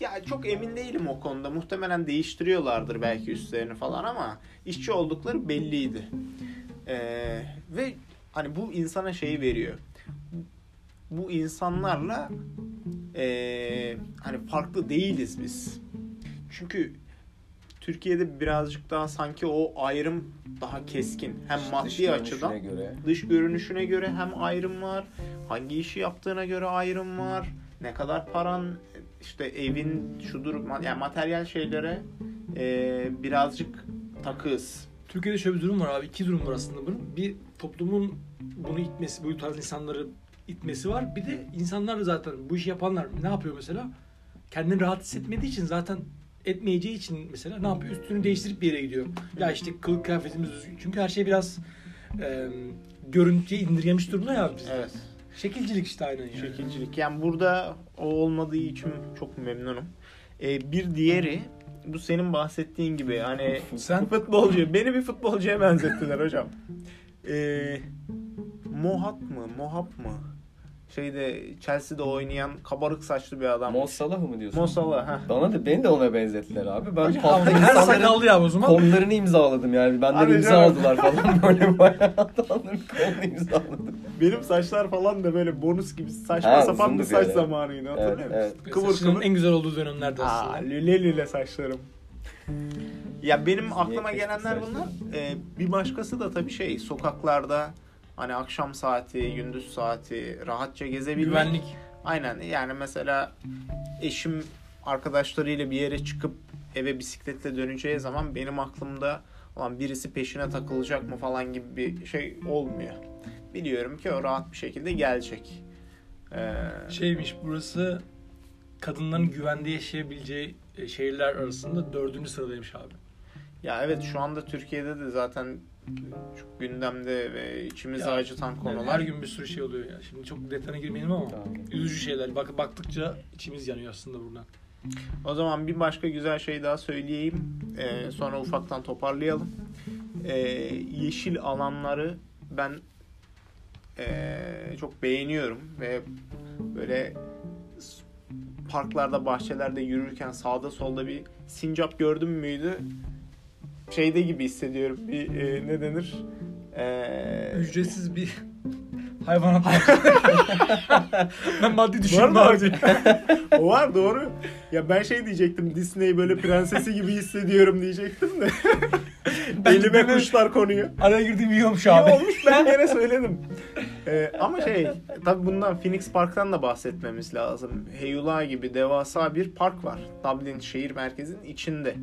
A: Ya çok emin değilim o konuda. Muhtemelen değiştiriyorlardır belki üstlerini falan ama işçi oldukları belliydi. Ee, ve hani bu insana şeyi veriyor. Bu insanlarla ee, hani farklı değiliz biz. Çünkü Türkiye'de birazcık daha sanki o ayrım daha keskin. Hem
B: Dış
A: maddi
B: görünüşüne
A: açıdan
B: göre.
A: dış görünüşüne göre hem ayrım var. Hangi işi yaptığına göre ayrım var. Ne kadar paran işte evin şudur ma- yani materyal şeylere e, birazcık takığız.
C: Türkiye'de şöyle bir durum var abi. iki durum var aslında bunun. Bir toplumun bunu itmesi, bu tarz insanları itmesi var. Bir de insanlar da zaten bu işi yapanlar ne yapıyor mesela? Kendini rahat hissetmediği için zaten etmeyeceği için mesela ne yapıyor? Üstünü değiştirip bir yere gidiyor. Ya işte kılık kıyafetimiz düzgün. Çünkü her şey biraz e, görüntüye indirgemiş durumda ya biz.
A: Evet.
C: Şekilcilik işte aynen yani.
A: Şekilcilik. Yani burada o olmadığı için çok memnunum. E, bir diğeri bu senin bahsettiğin gibi hani
C: Sen
A: futbolcu beni bir futbolcuya benzettiler hocam. E, Mohat mı? Mohap mı? Şeyde Chelsea'de oynayan kabarık saçlı bir adam.
B: Mo Salah'ı mı diyorsun?
A: Mo Salah, heh.
B: Bana da beni de ona benzettiler abi. Ben
A: Hocam,
B: pub'da
C: her
B: insanların
C: sakallı ya o zaman.
B: kollarını imzaladım yani. Benden
A: Abi
B: imza
A: canım.
B: aldılar falan böyle bayağı adamların kolunu imzaladım.
A: Benim saçlar falan da böyle bonus gibi saçma
B: Ha,
A: sapan bir
B: uzundu
A: saç
B: böyle.
A: zamanıydı hatırlıyor
B: Evet,
A: musun?
B: evet.
A: Kıvır
C: Saçının
A: kıvır.
C: en güzel olduğu dönemlerde
A: Aa,
C: aslında.
A: lüle lüle saçlarım. Ya benim aklıma
B: kestik
A: gelenler
B: saçları?
A: bunlar. Ee, bir başkası da tabii şey sokaklarda hani akşam saati, gündüz saati rahatça gezebilmek.
C: Güvenlik.
A: Aynen yani mesela eşim arkadaşlarıyla bir yere çıkıp eve bisikletle döneceği zaman benim aklımda olan birisi peşine takılacak mı falan gibi bir şey olmuyor. Biliyorum ki o rahat bir şekilde gelecek. Ee,
C: Şeymiş burası kadınların güvende yaşayabileceği e, şehirler arasında dördüncü sıradaymış abi.
A: ya evet şu anda Türkiye'de de zaten çok gündemde ve içimizi
C: Ya,
A: acıtan
C: Yani
A: konular.
C: her gün bir sürü şey oluyor ya. Şimdi çok detayına girmeyelim ama üzücü şeyler. Bak baktıkça içimiz yanıyor aslında buradan.
A: O zaman bir başka güzel şey daha söyleyeyim. Ee, sonra ufaktan toparlayalım. Ee, yeşil alanları ben ee, çok beğeniyorum ve böyle s- parklarda, bahçelerde yürürken sağda solda bir sincap gördüm müydü? Şeyde gibi hissediyorum. Bir e, ne denir? Ee,
D: Ücretsiz bir hayvanat
C: Ben maddi
A: Var
C: düşünme
A: mı?
C: abi.
A: o var doğru. Ya ben şey diyecektim. Disney böyle prensesi gibi hissediyorum diyecektim de.
D: Ben
A: Elime
D: gidemem.
A: kuşlar konuyu.
D: Araya girdim iyi olmuş
A: İyi
D: abi.
A: olmuş ben yine söyledim. Ee, ama şey tabii bundan Phoenix Park'tan da bahsetmemiz lazım. Heyula gibi devasa bir park var. Dublin şehir merkezinin içinde.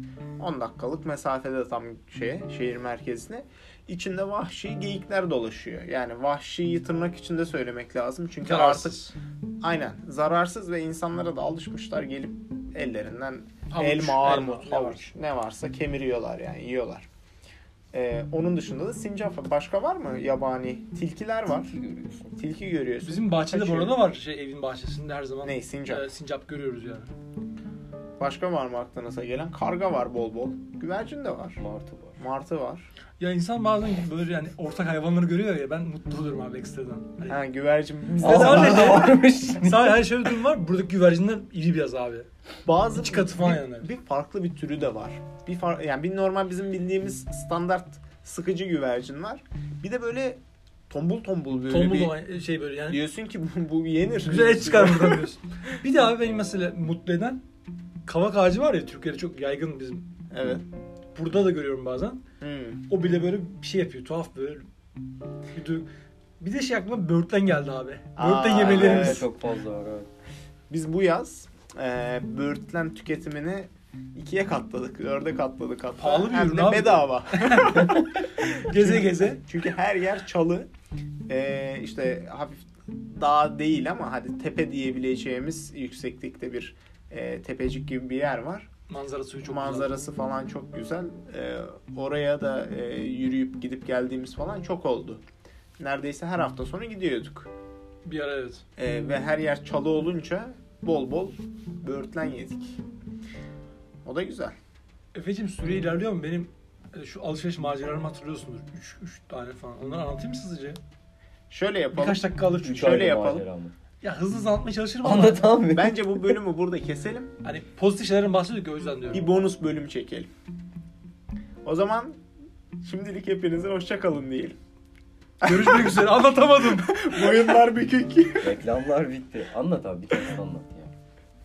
A: 10 dakikalık mesafede tam şeye, şehir merkezine. İçinde vahşi geyikler dolaşıyor. Yani vahşiyi tırnak içinde söylemek lazım. Çünkü artık
C: Kararsız.
A: aynen zararsız ve insanlara da alışmışlar gelip ellerinden
C: Havuç,
A: elma, armut,
C: ne
A: havuç ne varsa kemiriyorlar yani yiyorlar. Ee, onun dışında da sincap var. başka var mı yabani? Tilkiler var.
B: Görüyorsun.
A: Tilki görüyorsun.
C: Bizim bahçede bu
A: Kaçıyor.
C: arada var şey evin bahçesinde her zaman
A: Ne sincap?
C: e, sincap görüyoruz yani.
A: Başka var mı aklınıza gelen? Karga var bol bol. Güvercin de var.
B: Martı var.
A: Martı var.
D: Ya insan bazen
C: Böyle yani ortak hayvanları görüyor ya ben mutlu olurum abi ekstradan. Hani
A: Ha güvercin. Bizde
D: Aa,
A: de var.
D: var.
C: sadece-
B: varmış.
C: Sadece her şöyle bir durum var. Buradaki güvercinler iri biraz abi.
A: Bazı
C: İki katı falan
A: bir-
C: yani.
A: Bir farklı bir türü de var. Bir far, yani bir normal bizim bildiğimiz standart sıkıcı güvercin var. Bir de böyle tombul tombul böyle
C: Tombul
A: bir
C: olan şey böyle yani.
A: diyorsun ki bu, bu yenir.
C: Güzel et çıkar buradan diyorsun. Bir de abi benim mesela mutlu eden kavak ağacı var ya Türkiye'de çok yaygın bizim.
A: Evet.
C: Burada da görüyorum bazen.
A: Hmm.
C: O bile böyle bir şey yapıyor tuhaf böyle. Bir, du- bir de şey aklıma börtlen geldi abi. Börtlen
A: Aa,
C: yemelerimiz.
A: evet.
B: Çok fazla var evet.
A: Biz bu yaz e, böğürtlen tüketimini ikiye katladık. Dörde katladık hatta.
C: Pahalı bir
A: Hem
C: ürün
A: de
C: abi.
A: bedava.
C: Geze
A: Çünkü-
C: geze.
A: Çünkü her yer çalı. E, işte hafif dağ değil ama hadi tepe diyebileceğimiz yükseklikte bir e, tepecik gibi bir yer var.
C: Manzara suyu çok
A: Manzarası falan çok güzel. E, oraya da e, yürüyüp gidip geldiğimiz falan çok oldu. Neredeyse her hafta sonu gidiyorduk.
C: güzel. Bir ara evet.
A: Ee, ve her yer çalı olunca bol bol böğürtlen yedik. O da güzel.
C: Efe'cim süre
A: Hmm.
C: ilerliyor mu? Benim e, şu alışveriş maceralarımı hatırlıyorsundur. 3 3 tane falan. Onları anlatayım mı sizce?
A: Şöyle yapalım.
C: Birkaç dakika alır çünkü.
B: Üç
A: Şöyle
B: ayrı
A: yapalım.
B: maceramız.
C: Ya hızlı hızlı anlatmaya çalışırım ama.
B: Anlat abi.
A: Bence bu bölümü burada keselim.
C: Hani pozitif şeylerden bahsediyorduk ya, o yüzden diyorum.
A: Bir bonus bölüm çekelim. O zaman şimdilik hepinize hoşça kalın diyelim.
C: Görüşmek üzere. Anlatamadım.
A: Boyunlar bükük.
B: Reklamlar bitti. Anlat abi bir tanesini anlat ya.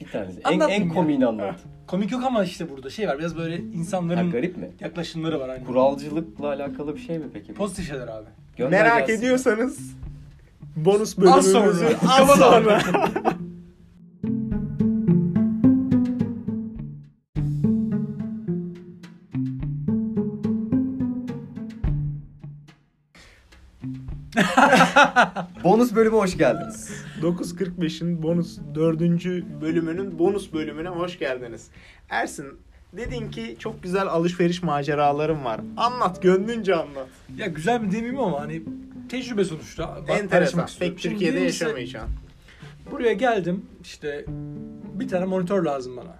B: Bir tanesi. En,
C: Anlatmayayım
B: en
C: ya.
B: komiğini anlat.
C: Komik yok ama işte burada şey var. Biraz böyle
B: Ha,
C: insanların
B: garip mi?
C: yaklaşımları var. Hani.
B: Kuralcılıkla alakalı bir şey mi peki?
C: Pozitif şeyler abi.
B: Gönder
A: Merak
B: gelsin.
A: ediyorsanız bonus bölümümüzü
C: Az sonra.
A: az sonra.
B: Bonus bölüme hoş geldiniz.
A: 9.45'in bonus 4. bölümünün bonus bölümüne hoş geldiniz. Ersin dedin ki çok güzel alışveriş maceralarım var. Anlat gönlünce anlat.
C: Ya güzel mi demeyeyim ama hani tecrübe sonuçta. Bak-
A: Enteresan.
C: paylaşmak istiyorum.
A: Pek
C: Şimdi
A: Türkiye'de
C: birincisi,
A: yaşamayacaksın.
C: Buraya geldim işte bir tane monitör lazım bana.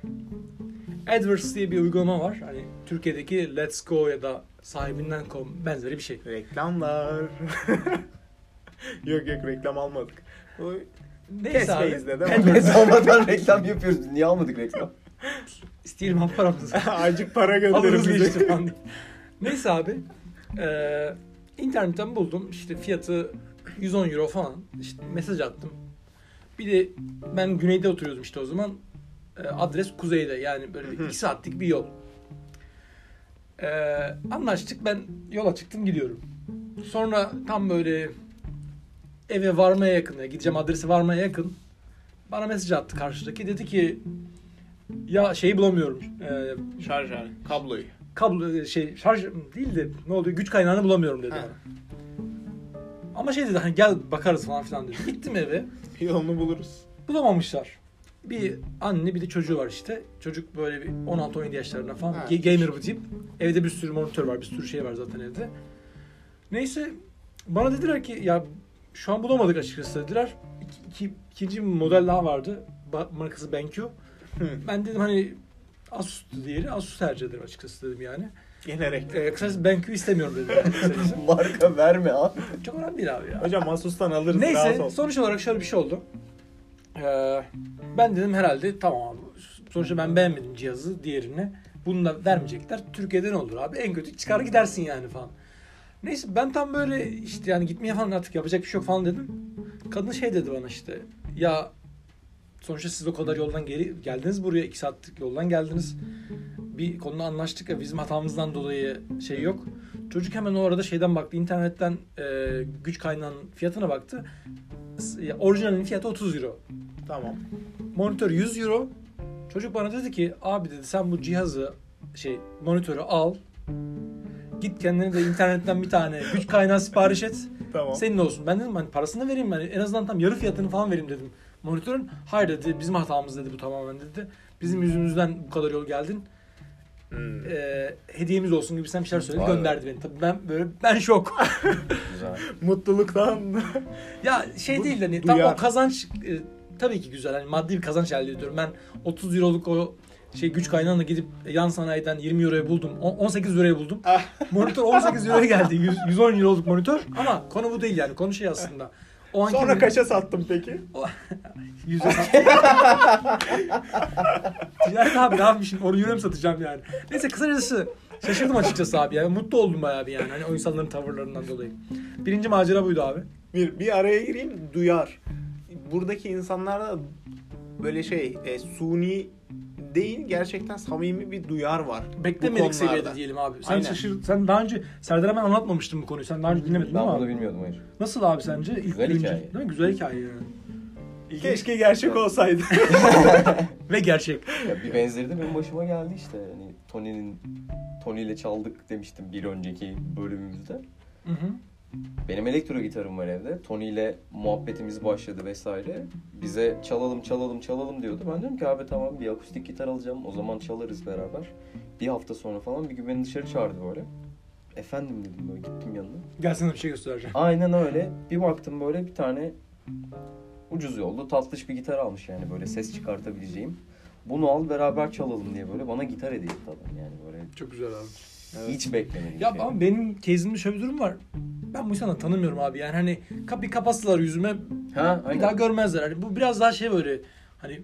C: AdWords diye bir uygulama var. Hani Türkiye'deki Let's Go ya da sahibinden.com benzeri bir şey.
A: Reklamlar. yok yok reklam almadık. O
C: Neyse abi.
A: Kesmeyizle de var.
B: Biz almadan reklam yapıyoruz. Niye almadık reklam?
C: İsteyelim abi paramızı.
A: Acık para gönderin
C: Alırız
A: bize.
C: işte falan diye. Neyse abi. Ee, internetten buldum. İşte fiyatı 110 euro falan. İşte mesaj attım. Bir de ben güneyde oturuyordum işte o zaman. Ee, adres kuzeyde. Yani böyle bir
A: Hı hı.
C: iki saatlik bir yol. Ee, anlaştık. Ben yola çıktım gidiyorum. Sonra tam böyle eve varmaya yakın. yani Gideceğim adresi varmaya yakın. Bana mesaj attı karşıdaki. Dedi ki ya şeyi bulamıyorum. Ee,
A: Şarj al, kabloyu.
C: kablo şey şarj değil de ne oluyor güç kaynağını bulamıyorum dedi
A: He.
C: bana. Ama şey dedi hani gel bakarız falan filan dedi. Gittim eve
A: Yolunu buluruz.
C: bulamamışlar. Bir anne bir de çocuğu var işte. Çocuk böyle bir 16-17 yaşlarında falan.
A: Ha.
C: Ge- Gamer bu tip. Evde bir sürü monitör var bir sürü şey var zaten evde. Neyse bana dediler ki ya şu an bulamadık açıkçası dediler. İki, iki- ikinci bir model daha vardı. Ba- markası BenQ.
A: Hı.
C: Ben dedim hani Asus'tu diğeri. Asus tercih ederim açıkçası dedim yani.
A: Gene reklam.
C: Ee, kısacası BenQ istemiyorum dedim. yani kısacası.
B: Marka verme abi.
C: Çok önemli değil abi ya.
A: Hocam Asus'tan alırız. rahat
C: Neyse
A: ol.
C: sonuç olarak şöyle bir şey oldu. Ee, Ben dedim herhalde tamam abi. Sonuçta ben beğenmedim cihazı diğerine. Bunu da vermeyecekler. Türkiye'den olur abi. En kötü çıkar gidersin yani falan. Neyse ben tam böyle işte yani gitmeye falan artık yapacak bir şey yok falan dedim. Kadın şey dedi bana işte ya sonuçta siz o kadar yoldan geri geldiniz buraya. iki saatlik yoldan geldiniz. Bir konuda anlaştık ya bizim hatamızdan dolayı şey yok. Çocuk hemen o arada şeyden baktı. internetten e, güç kaynağının fiyatına baktı. S- ya, Orijinalinin fiyatı 30 euro.
A: Tamam.
C: Monitör 100 euro. Çocuk bana dedi ki abi dedi sen bu cihazı şey monitörü al. Git kendine de internetten bir tane güç kaynağı sipariş et.
A: Tamam.
C: Senin olsun. Ben dedim hani parasını vereyim ben. En azından tam yarı fiyatını falan vereyim dedim. Monitörün hayır dedi bizim hatamız dedi bu tamamen dedi. Bizim yüzümüzden bu kadar yol geldin.
A: Hmm.
C: Ee, hediyemiz olsun gibi sen bir şeyler söyledi.
B: Vay be.
C: Gönderdi beni. Tabii ben böyle ben şok.
B: Güzel.
A: Mutluluktan
C: Ya şey
A: Bu
C: değil hani tam
A: duyar.
C: o kazanç e, tabii ki güzel. Hani maddi bir kazanç elde ediyorum. Ben 30 euroluk o şey güç kaynağına gidip yan sanayiden 20 euroya buldum. O- 18 euroya buldum.
A: Ah.
C: monitör 18 euroya geldi. 100, 110 euroluk monitör. Ama konu bu değil yani. Konu şey aslında. O anki
A: Sonra kaça sattım peki?
C: 100 Ticaret abi ne yapmışım? Onu euroya mı satacağım yani? Neyse kısacası şaşırdım açıkçası abi yani. Mutlu oldum bayağı bir yani. Hani o insanların tavırlarından dolayı. Birinci macera buydu abi.
A: Bir, bir araya gireyim duyar.
C: Hmm.
A: Buradaki insanlar da böyle şey e, suni değil gerçekten samimi bir duyar var. bu
C: Beklemedik
A: konularda.
C: seviyede diyelim abi. Sen
A: Aynen.
C: şaşır, sen daha önce Serdar'a ben anlatmamıştım bu konuyu. Sen daha önce
B: Ben
C: dinlemedin değil mi
B: bunu
C: abi?
B: bilmiyordum hayır.
C: Nasıl abi sence? İlk
B: Güzel
C: duyunca-
B: hikaye.
C: Değil mi? Güzel hikaye yani.
A: Keşke gerçek olsaydı.
C: Ve gerçek.
B: Ya bir benzeri de benim başıma geldi işte. Hani Tony'nin Tony ile çaldık demiştim bir önceki bölümümüzde.
C: Hı hı.
B: Benim elektro gitarım var evde. Tony ile muhabbetimiz başladı vesaire. Bize çalalım çalalım çalalım diyordu. Ben dedim ki abi tamam bir akustik gitar alacağım. O zaman çalarız beraber. Bir hafta sonra falan bir gün beni dışarı çağırdı böyle. Efendim dedim böyle gittim yanına.
C: Gel sana bir şey göstereceğim.
B: Aynen öyle. Bir baktım böyle bir tane ucuz yollu tatlış bir gitar almış yani böyle ses çıkartabileceğim. Bunu al beraber çalalım diye böyle bana gitar hediye etti adam yani böyle
C: Çok güzel abi.
B: hiç beklemedim.
C: Ya ama benim case'imde şöyle bir durum var. Ben bu insanı tanımıyorum abi. Yani hani ka- bir kapastılar yüzüme
B: ha, aynen.
C: bir daha görmezler. Hani bu biraz daha şey böyle hani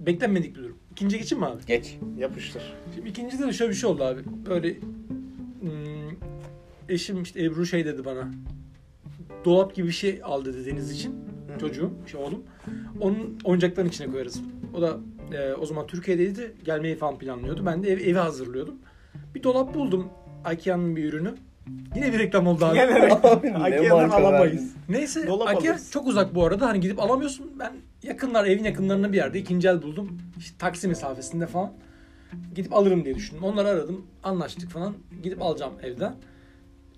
C: beklenmedik bir durum. İkinciye geçeyim mi abi?
B: Geç.
A: Yapıştır.
C: Şimdi ikincide de şöyle bir şey oldu abi. Böyle hmm, eşim işte Ebru şey dedi bana. Dolap gibi bir şey al dedi Deniz için.
A: Hı.
C: Çocuğum, şey oğlum. Onun oyuncakların içine koyarız. O da e, o zaman Türkiye'deydi. Gelmeyi falan planlıyordu. Ben de ev- evi hazırlıyordum. Bir dolap buldum. Ikea'nın bir ürünü. Yine bir reklam oldu abi.
A: Gelerek
B: Abi, ne
A: Akya'dan
B: marka
A: alamayız.
C: Neyse
A: Dolap
C: Akya
A: alırız.
C: çok uzak bu arada. Hani gidip alamıyorsun. Ben yakınlar evin yakınlarında bir yerde ikinci el buldum. İşte taksi mesafesinde falan. Gidip alırım diye düşündüm. Onları aradım. Anlaştık falan. Gidip alacağım evden.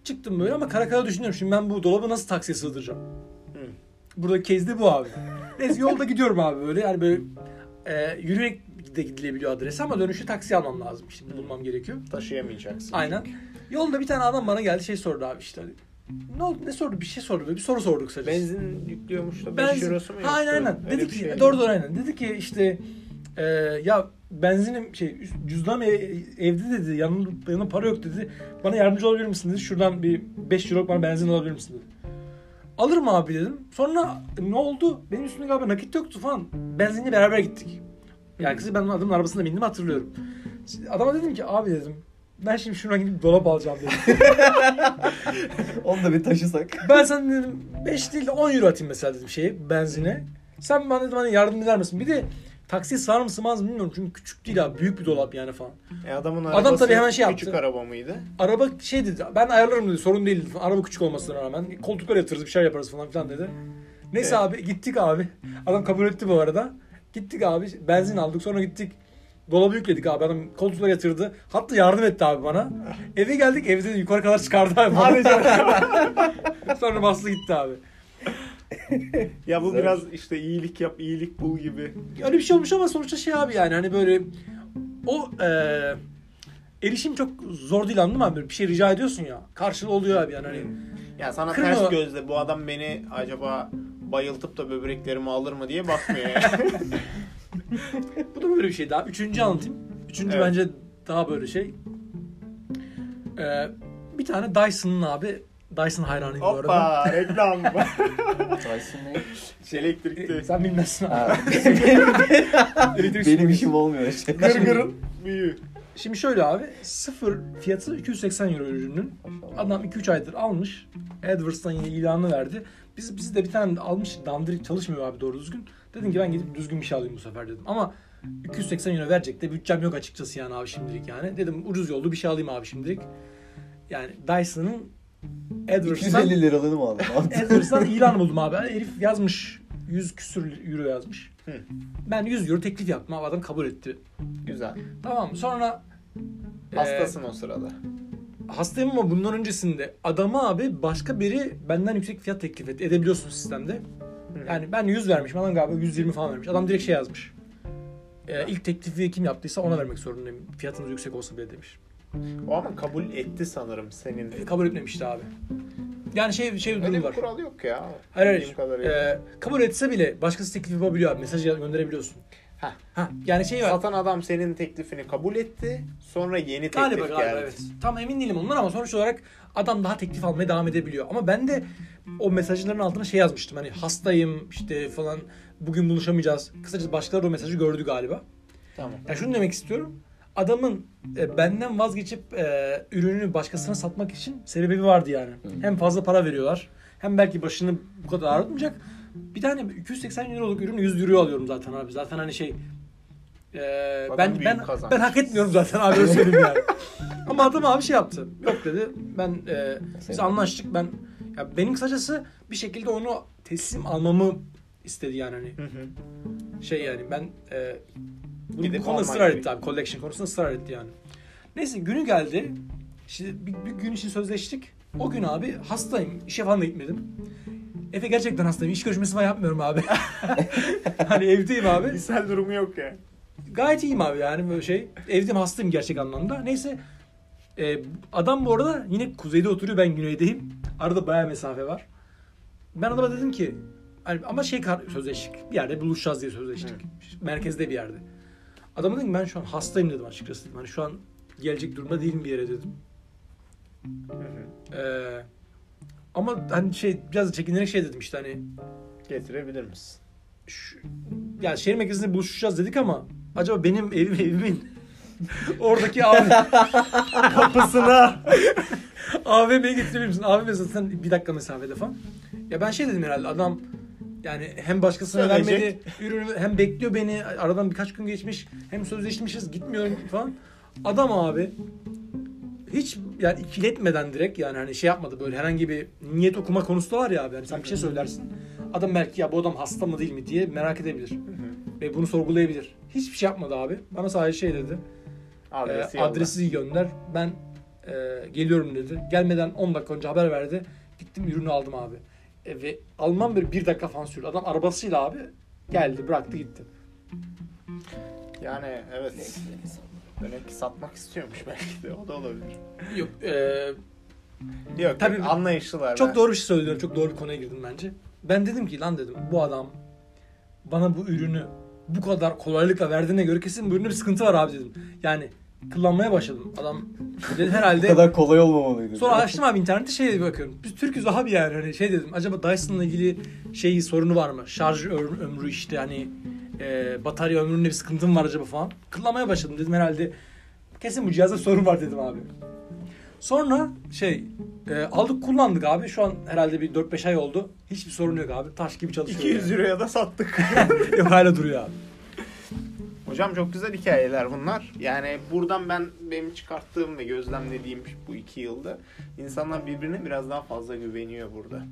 C: Çıktım böyle ama kara kara düşünüyorum. Şimdi ben bu dolabı nasıl taksiye sığdıracağım?
A: Hı.
C: Buradaki case de bu abi. Neyse yolda gidiyorum abi böyle. Yani böyle e, yürüyerek de gidilebiliyor adrese ama dönüşü taksi almam lazım. İşte bulmam gerekiyor.
A: Taşıyamayacaksın.
C: Aynen. Yolda bir tane adam bana geldi şey sordu abi işte. hani, Ne oldu? Ne sordu? Bir şey sordu. böyle Bir soru sordu kısacası.
A: Benzin yüklüyormuş da 5
C: Benzin-
A: eurosu mu
C: Ha, Aynen
A: yoktu?
C: aynen.
A: Öyle
C: Dedi
A: bir
C: ki
A: şey.
C: doğru doğru aynen. Dedi ki işte e, ya benzinim şey üst- cüzdanım e- evde dedi. Yanımda yanımda para yok dedi. Bana yardımcı olabilir misin dedi. Şuradan bir 5 euro bana benzin alabilir misin dedi. Alırım abi dedim. Sonra ne oldu? Benim üstümde galiba nakit yoktu falan. Benzinle beraber gittik. Yani kızı ben adamın arabasına bindim hatırlıyorum. Şimdi Adama dedim ki abi dedim. Ben şimdi şuradan gidip dolap alacağım dedim.
B: Onu da bir taşısak.
C: Ben sana dedim 5 değil de 10 euro atayım mesela dedim şeye benzine. Sen bana dedim hani yardım eder misin? Bir de taksiye sığar mı sığmaz mı bilmiyorum çünkü küçük değil abi büyük bir dolap yani falan.
A: E, adamın
C: Adam
A: arabası
C: tabii hemen şey
A: küçük
C: yaptı.
A: araba mıydı?
C: Araba şey dedi ben ayarlarım dedi sorun değil dedi. Araba küçük olmasına rağmen koltuklara yatırırız bir şey yaparız falan filan dedi. Neyse
A: Evet.
C: abi gittik abi. Adam kabul etti bu arada. Gittik abi benzin aldık sonra gittik. Dolabı yükledik abi adam koltuklara yatırdı. Hatta yardım etti abi bana. Eve geldik evde de yukarı kadar çıkardı abi. bana. sonra bastı gitti abi.
A: Ya bu
B: Güzel.
A: biraz işte iyilik yap, iyilik bul gibi.
C: öyle bir şey olmuş ama sonuçta şey abi yani hani böyle o e, erişim çok zor değil anladın mı abi? Böyle Bir şey rica ediyorsun ya. Karşılığı oluyor abi yani hani.
A: Ya sana
C: Kırma.
A: ters gözle bu adam beni acaba bayıltıp da böbreklerimi alır mı diye bakmıyor yani.
C: Bu da böyle bir şey daha. Üçüncü anlatayım. Üçüncü
A: Evet.
C: bence daha böyle şey. Ee, bir tane E, Dyson'ın abi Dyson hayranıyım bu arada.
A: Hoppa reklam.
B: Dyson ne?
A: şey
C: E,
A: elektrikli.
D: Sen bilmezsin abi.
B: Ha,
D: Elektrik
B: Benim
D: süpürgesi.
B: işim olmuyor işte.
A: Gırgırın büyüğü.
C: Şimdi şöyle abi sıfır fiyatı 280 euro ürünün. Adam 2-3 aydır almış. AdWords'tan yine ilanı verdi. Biz bizi de bir tane de almış. Dandirik çalışmıyor abi doğru düzgün. Dedim ki ben gidip düzgün bir şey alayım bu sefer dedim. Ama 280 euro verecek de bütçem yok açıkçası yani abi şimdilik yani. Dedim ucuz yollu bir şey alayım abi şimdilik. Yani Dyson'ın AdWords'tan,
B: 250 liralığını mı aldın?
C: AdWords'tan ilan buldum abi. Herif yazmış. 100 küsür euro yazmış.
A: Hı.
C: Ben 100 euro teklif yaptım abi adam kabul etti.
A: Güzel.
C: Tamam sonra e,
A: Hastasın o sırada.
C: hastayım ama bundan öncesinde adama abi başka biri benden yüksek fiyat teklif et, edebiliyorsun sistemde. Yani ben 100 vermişim adam galiba 120 falan vermiş. Adam direkt şey yazmış. E, ilk teklifi kim yaptıysa ona vermek zorundayım. Fiyatınız yüksek olsa bile demiş.
A: O ama kabul etti sanırım senin.
C: E, kabul etmemişti abi. Yani şey şey bir
A: Öyle
C: durum
A: bir
C: var.
A: kural yok ya.
C: Hayır
A: Bildiğim
C: hayır.
A: kadarıyla.
C: E, kabul etse bile başkası teklif yapabiliyor abi. Mesaj gönderebiliyorsun.
A: Heh.
C: Ha, yani şey var.
A: Satan adam senin teklifini kabul etti. Sonra yeni teklif
C: Galiba galiba
A: geldi.
C: evet. Tam emin değilim ondan ama sonuç olarak adam daha teklif almaya devam edebiliyor. Ama ben de o mesajların altına şey yazmıştım hani hastayım işte falan bugün buluşamayacağız. Kısacası başkaları da o mesajı gördü galiba.
A: Tamam.
C: Ya şunu demek istiyorum. Adamın e, benden vazgeçip e, ürününü başkasına satmak için sebebi vardı yani.
A: Hmm.
C: Hem fazla para veriyorlar hem belki başını bu kadar ağrıtmayacak. Bir tane 280 euroluk ürünü 100 euro alıyorum zaten abi. Zaten hani şey e,
A: Adam
C: ben
A: büyük
C: ben
A: kazanç.
C: ben hak etmiyorum zaten abi öyle söyleyeyim yani. Ama adam abi şey yaptı. Yok dedi. Ben e, biz
B: Sevindim.
C: anlaştık. Ben ya benim kısacası bir şekilde onu teslim almamı istedi yani hani
A: Hı hı.
C: şey yani ben e, bu,
A: Gidip
C: bu konuda
A: alman
C: ısrar etti
A: gerekiyor.
C: abi. Collection konusunda ısrar etti yani. Neyse günü geldi. Şimdi bir, bir gün için sözleştik. O gün abi hastayım. İşe falan da gitmedim. Efe gerçekten hastayım. İş görüşmesi falan yapmıyorum abi. hani evdeyim abi.
A: İçsel durumu yok ya.
C: Gayet iyiyim abi yani böyle şey. Evdeyim hastayım gerçek anlamda. Neyse e, adam bu arada yine kuzeyde oturuyor ben güneydeyim. Arada bayağı mesafe var. Ben adama dedim ki hani ama şey kar- sözleştik. Bir yerde buluşacağız diye sözleştik. Merkezde bir yerde. Adama dedim ki ben şu an hastayım dedim açıkçası. Dedim. Hani şu an gelecek durumda değilim bir yere dedim. Ee, ama hani şey biraz da çekinerek şey dedim işte hani
A: Getirebilir misin?
C: şu, ya şehir merkezinde buluşacağız dedik ama acaba benim evim evimin oradaki abi
A: Kapısına.
C: AVM'ye getirebilir misin? AVM zaten bir dakika mesafede falan. Ya ben şey dedim herhalde adam yani hem başkasına
A: Söyleyecek.
C: vermedi ürünü hem bekliyor beni aradan birkaç gün geçmiş hem sözleşmişiz gitmiyorum falan. Adam abi hiç yani ikiletmeden direkt yani hani şey yapmadı böyle herhangi bir niyet okuma konusu da var ya abi yani sen bir şey söylersin adam belki ya bu adam hasta mı değil mi diye merak edebilir ve bunu sorgulayabilir. Hiçbir şey yapmadı abi bana sadece şey dedi
A: Adresi,
C: e,
A: yolla.
C: adresi gönder. Ben e, geliyorum dedi. Gelmeden 10 dakika önce haber verdi. Gittim ürünü aldım abi. E, ve almam bir, bir dakika falan sürdü. Adam arabasıyla abi geldi bıraktı gitti.
A: Yani evet. Demek ki satmak istiyormuş belki de. O da olabilir.
C: Yok, e,
A: Yok
C: Tabii-
A: Tabii, anlayışlılar.
C: çok
A: ben.
C: doğru bir şey söylüyorum. Çok doğru bir konuya girdim bence. Ben dedim ki lan dedim bu adam bana bu ürünü bu kadar kolaylıkla verdiğine göre kesin bu üründe bir sıkıntı var abi dedim. Yani kullanmaya başladım. Adam dedi
B: Bu
C: herhalde
B: kadar kolay olmamalıydı.
C: Sonra açtım abi internette şey bakıyorum. Biz Türk'üz abi yani hani şey dedim. Acaba Dyson'la ilgili şey sorunu var mı? Şarj ö- ömrü işte hani e, batarya ömründe bir sıkıntım var acaba falan. Kıllamaya başladım dedim herhalde. Kesin bu cihazda sorun var dedim abi. Sonra şey e, aldık kullandık abi. Şu an herhalde bir 4-5 ay oldu. Hiçbir sorun yok abi. Taş gibi çalışıyor.
A: 200 euroya da sattık.
C: yani. yok hala duruyor abi.
A: Hocam çok güzel hikayeler bunlar. Yani buradan ben benim çıkarttığım ve gözlemlediğim bu iki yılda insanlar birbirine biraz daha fazla güveniyor burada.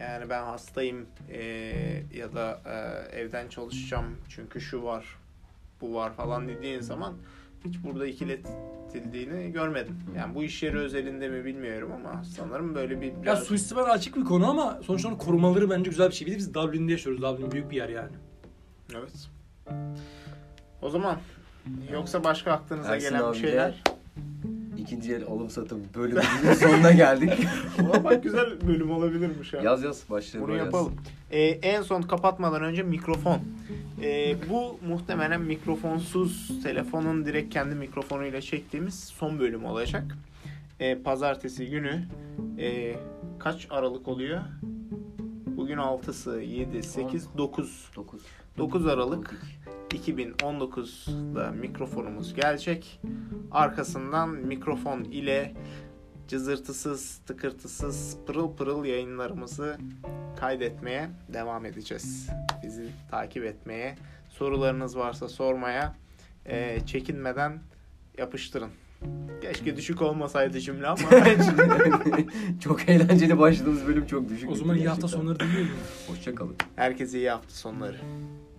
A: Yani ben hastayım eee, ya da eee, evden çalışacağım çünkü şu var bu var falan dediğin zaman hiç burada ikiletildiğini görmedim. Yani bu iş yeri özelinde mi bilmiyorum ama sanırım böyle bir
C: Ya
A: biraz
C: suistimal açık bir konu ama sonuçta onun korumaları bence güzel bir şey. Bir de biz Dublin'de yaşıyoruz. Dublin büyük bir yer yani.
A: Evet. O zaman yoksa başka aklınıza
B: Ersin
A: gelen bir
B: abiyle
A: şeyler.
B: İkinci el alım satım bölümünün sonuna geldik.
A: Ulan bak güzel bölüm olabilirmiş ya.
B: yaz yaz başlayalım.
A: Bunu
B: yaz.
A: yapalım. Ee, en son kapatmadan önce mikrofon. Ee, bu muhtemelen mikrofonsuz telefonun direkt kendi mikrofonuyla çektiğimiz son bölüm olacak. Ee, pazartesi günü e, kaç Aralık oluyor? Bugün 6'sı, 7, 8, 9.
B: 9.
A: 9 Aralık 2019'da mikrofonumuz gelecek. Arkasından mikrofon ile cızırtısız, tıkırtısız, pırıl pırıl yayınlarımızı kaydetmeye devam edeceğiz. Bizi takip etmeye, sorularınız varsa sormaya eee, çekinmeden yapıştırın. Keşke düşük olmasaydı cümle ama
B: çok eğlenceli başladığımız bölüm çok düşük.
C: O zaman iyi hafta
B: Gerçekten.
C: sonları dinleyelim.
B: Hoşça kalın.
A: herkese iyi hafta sonları.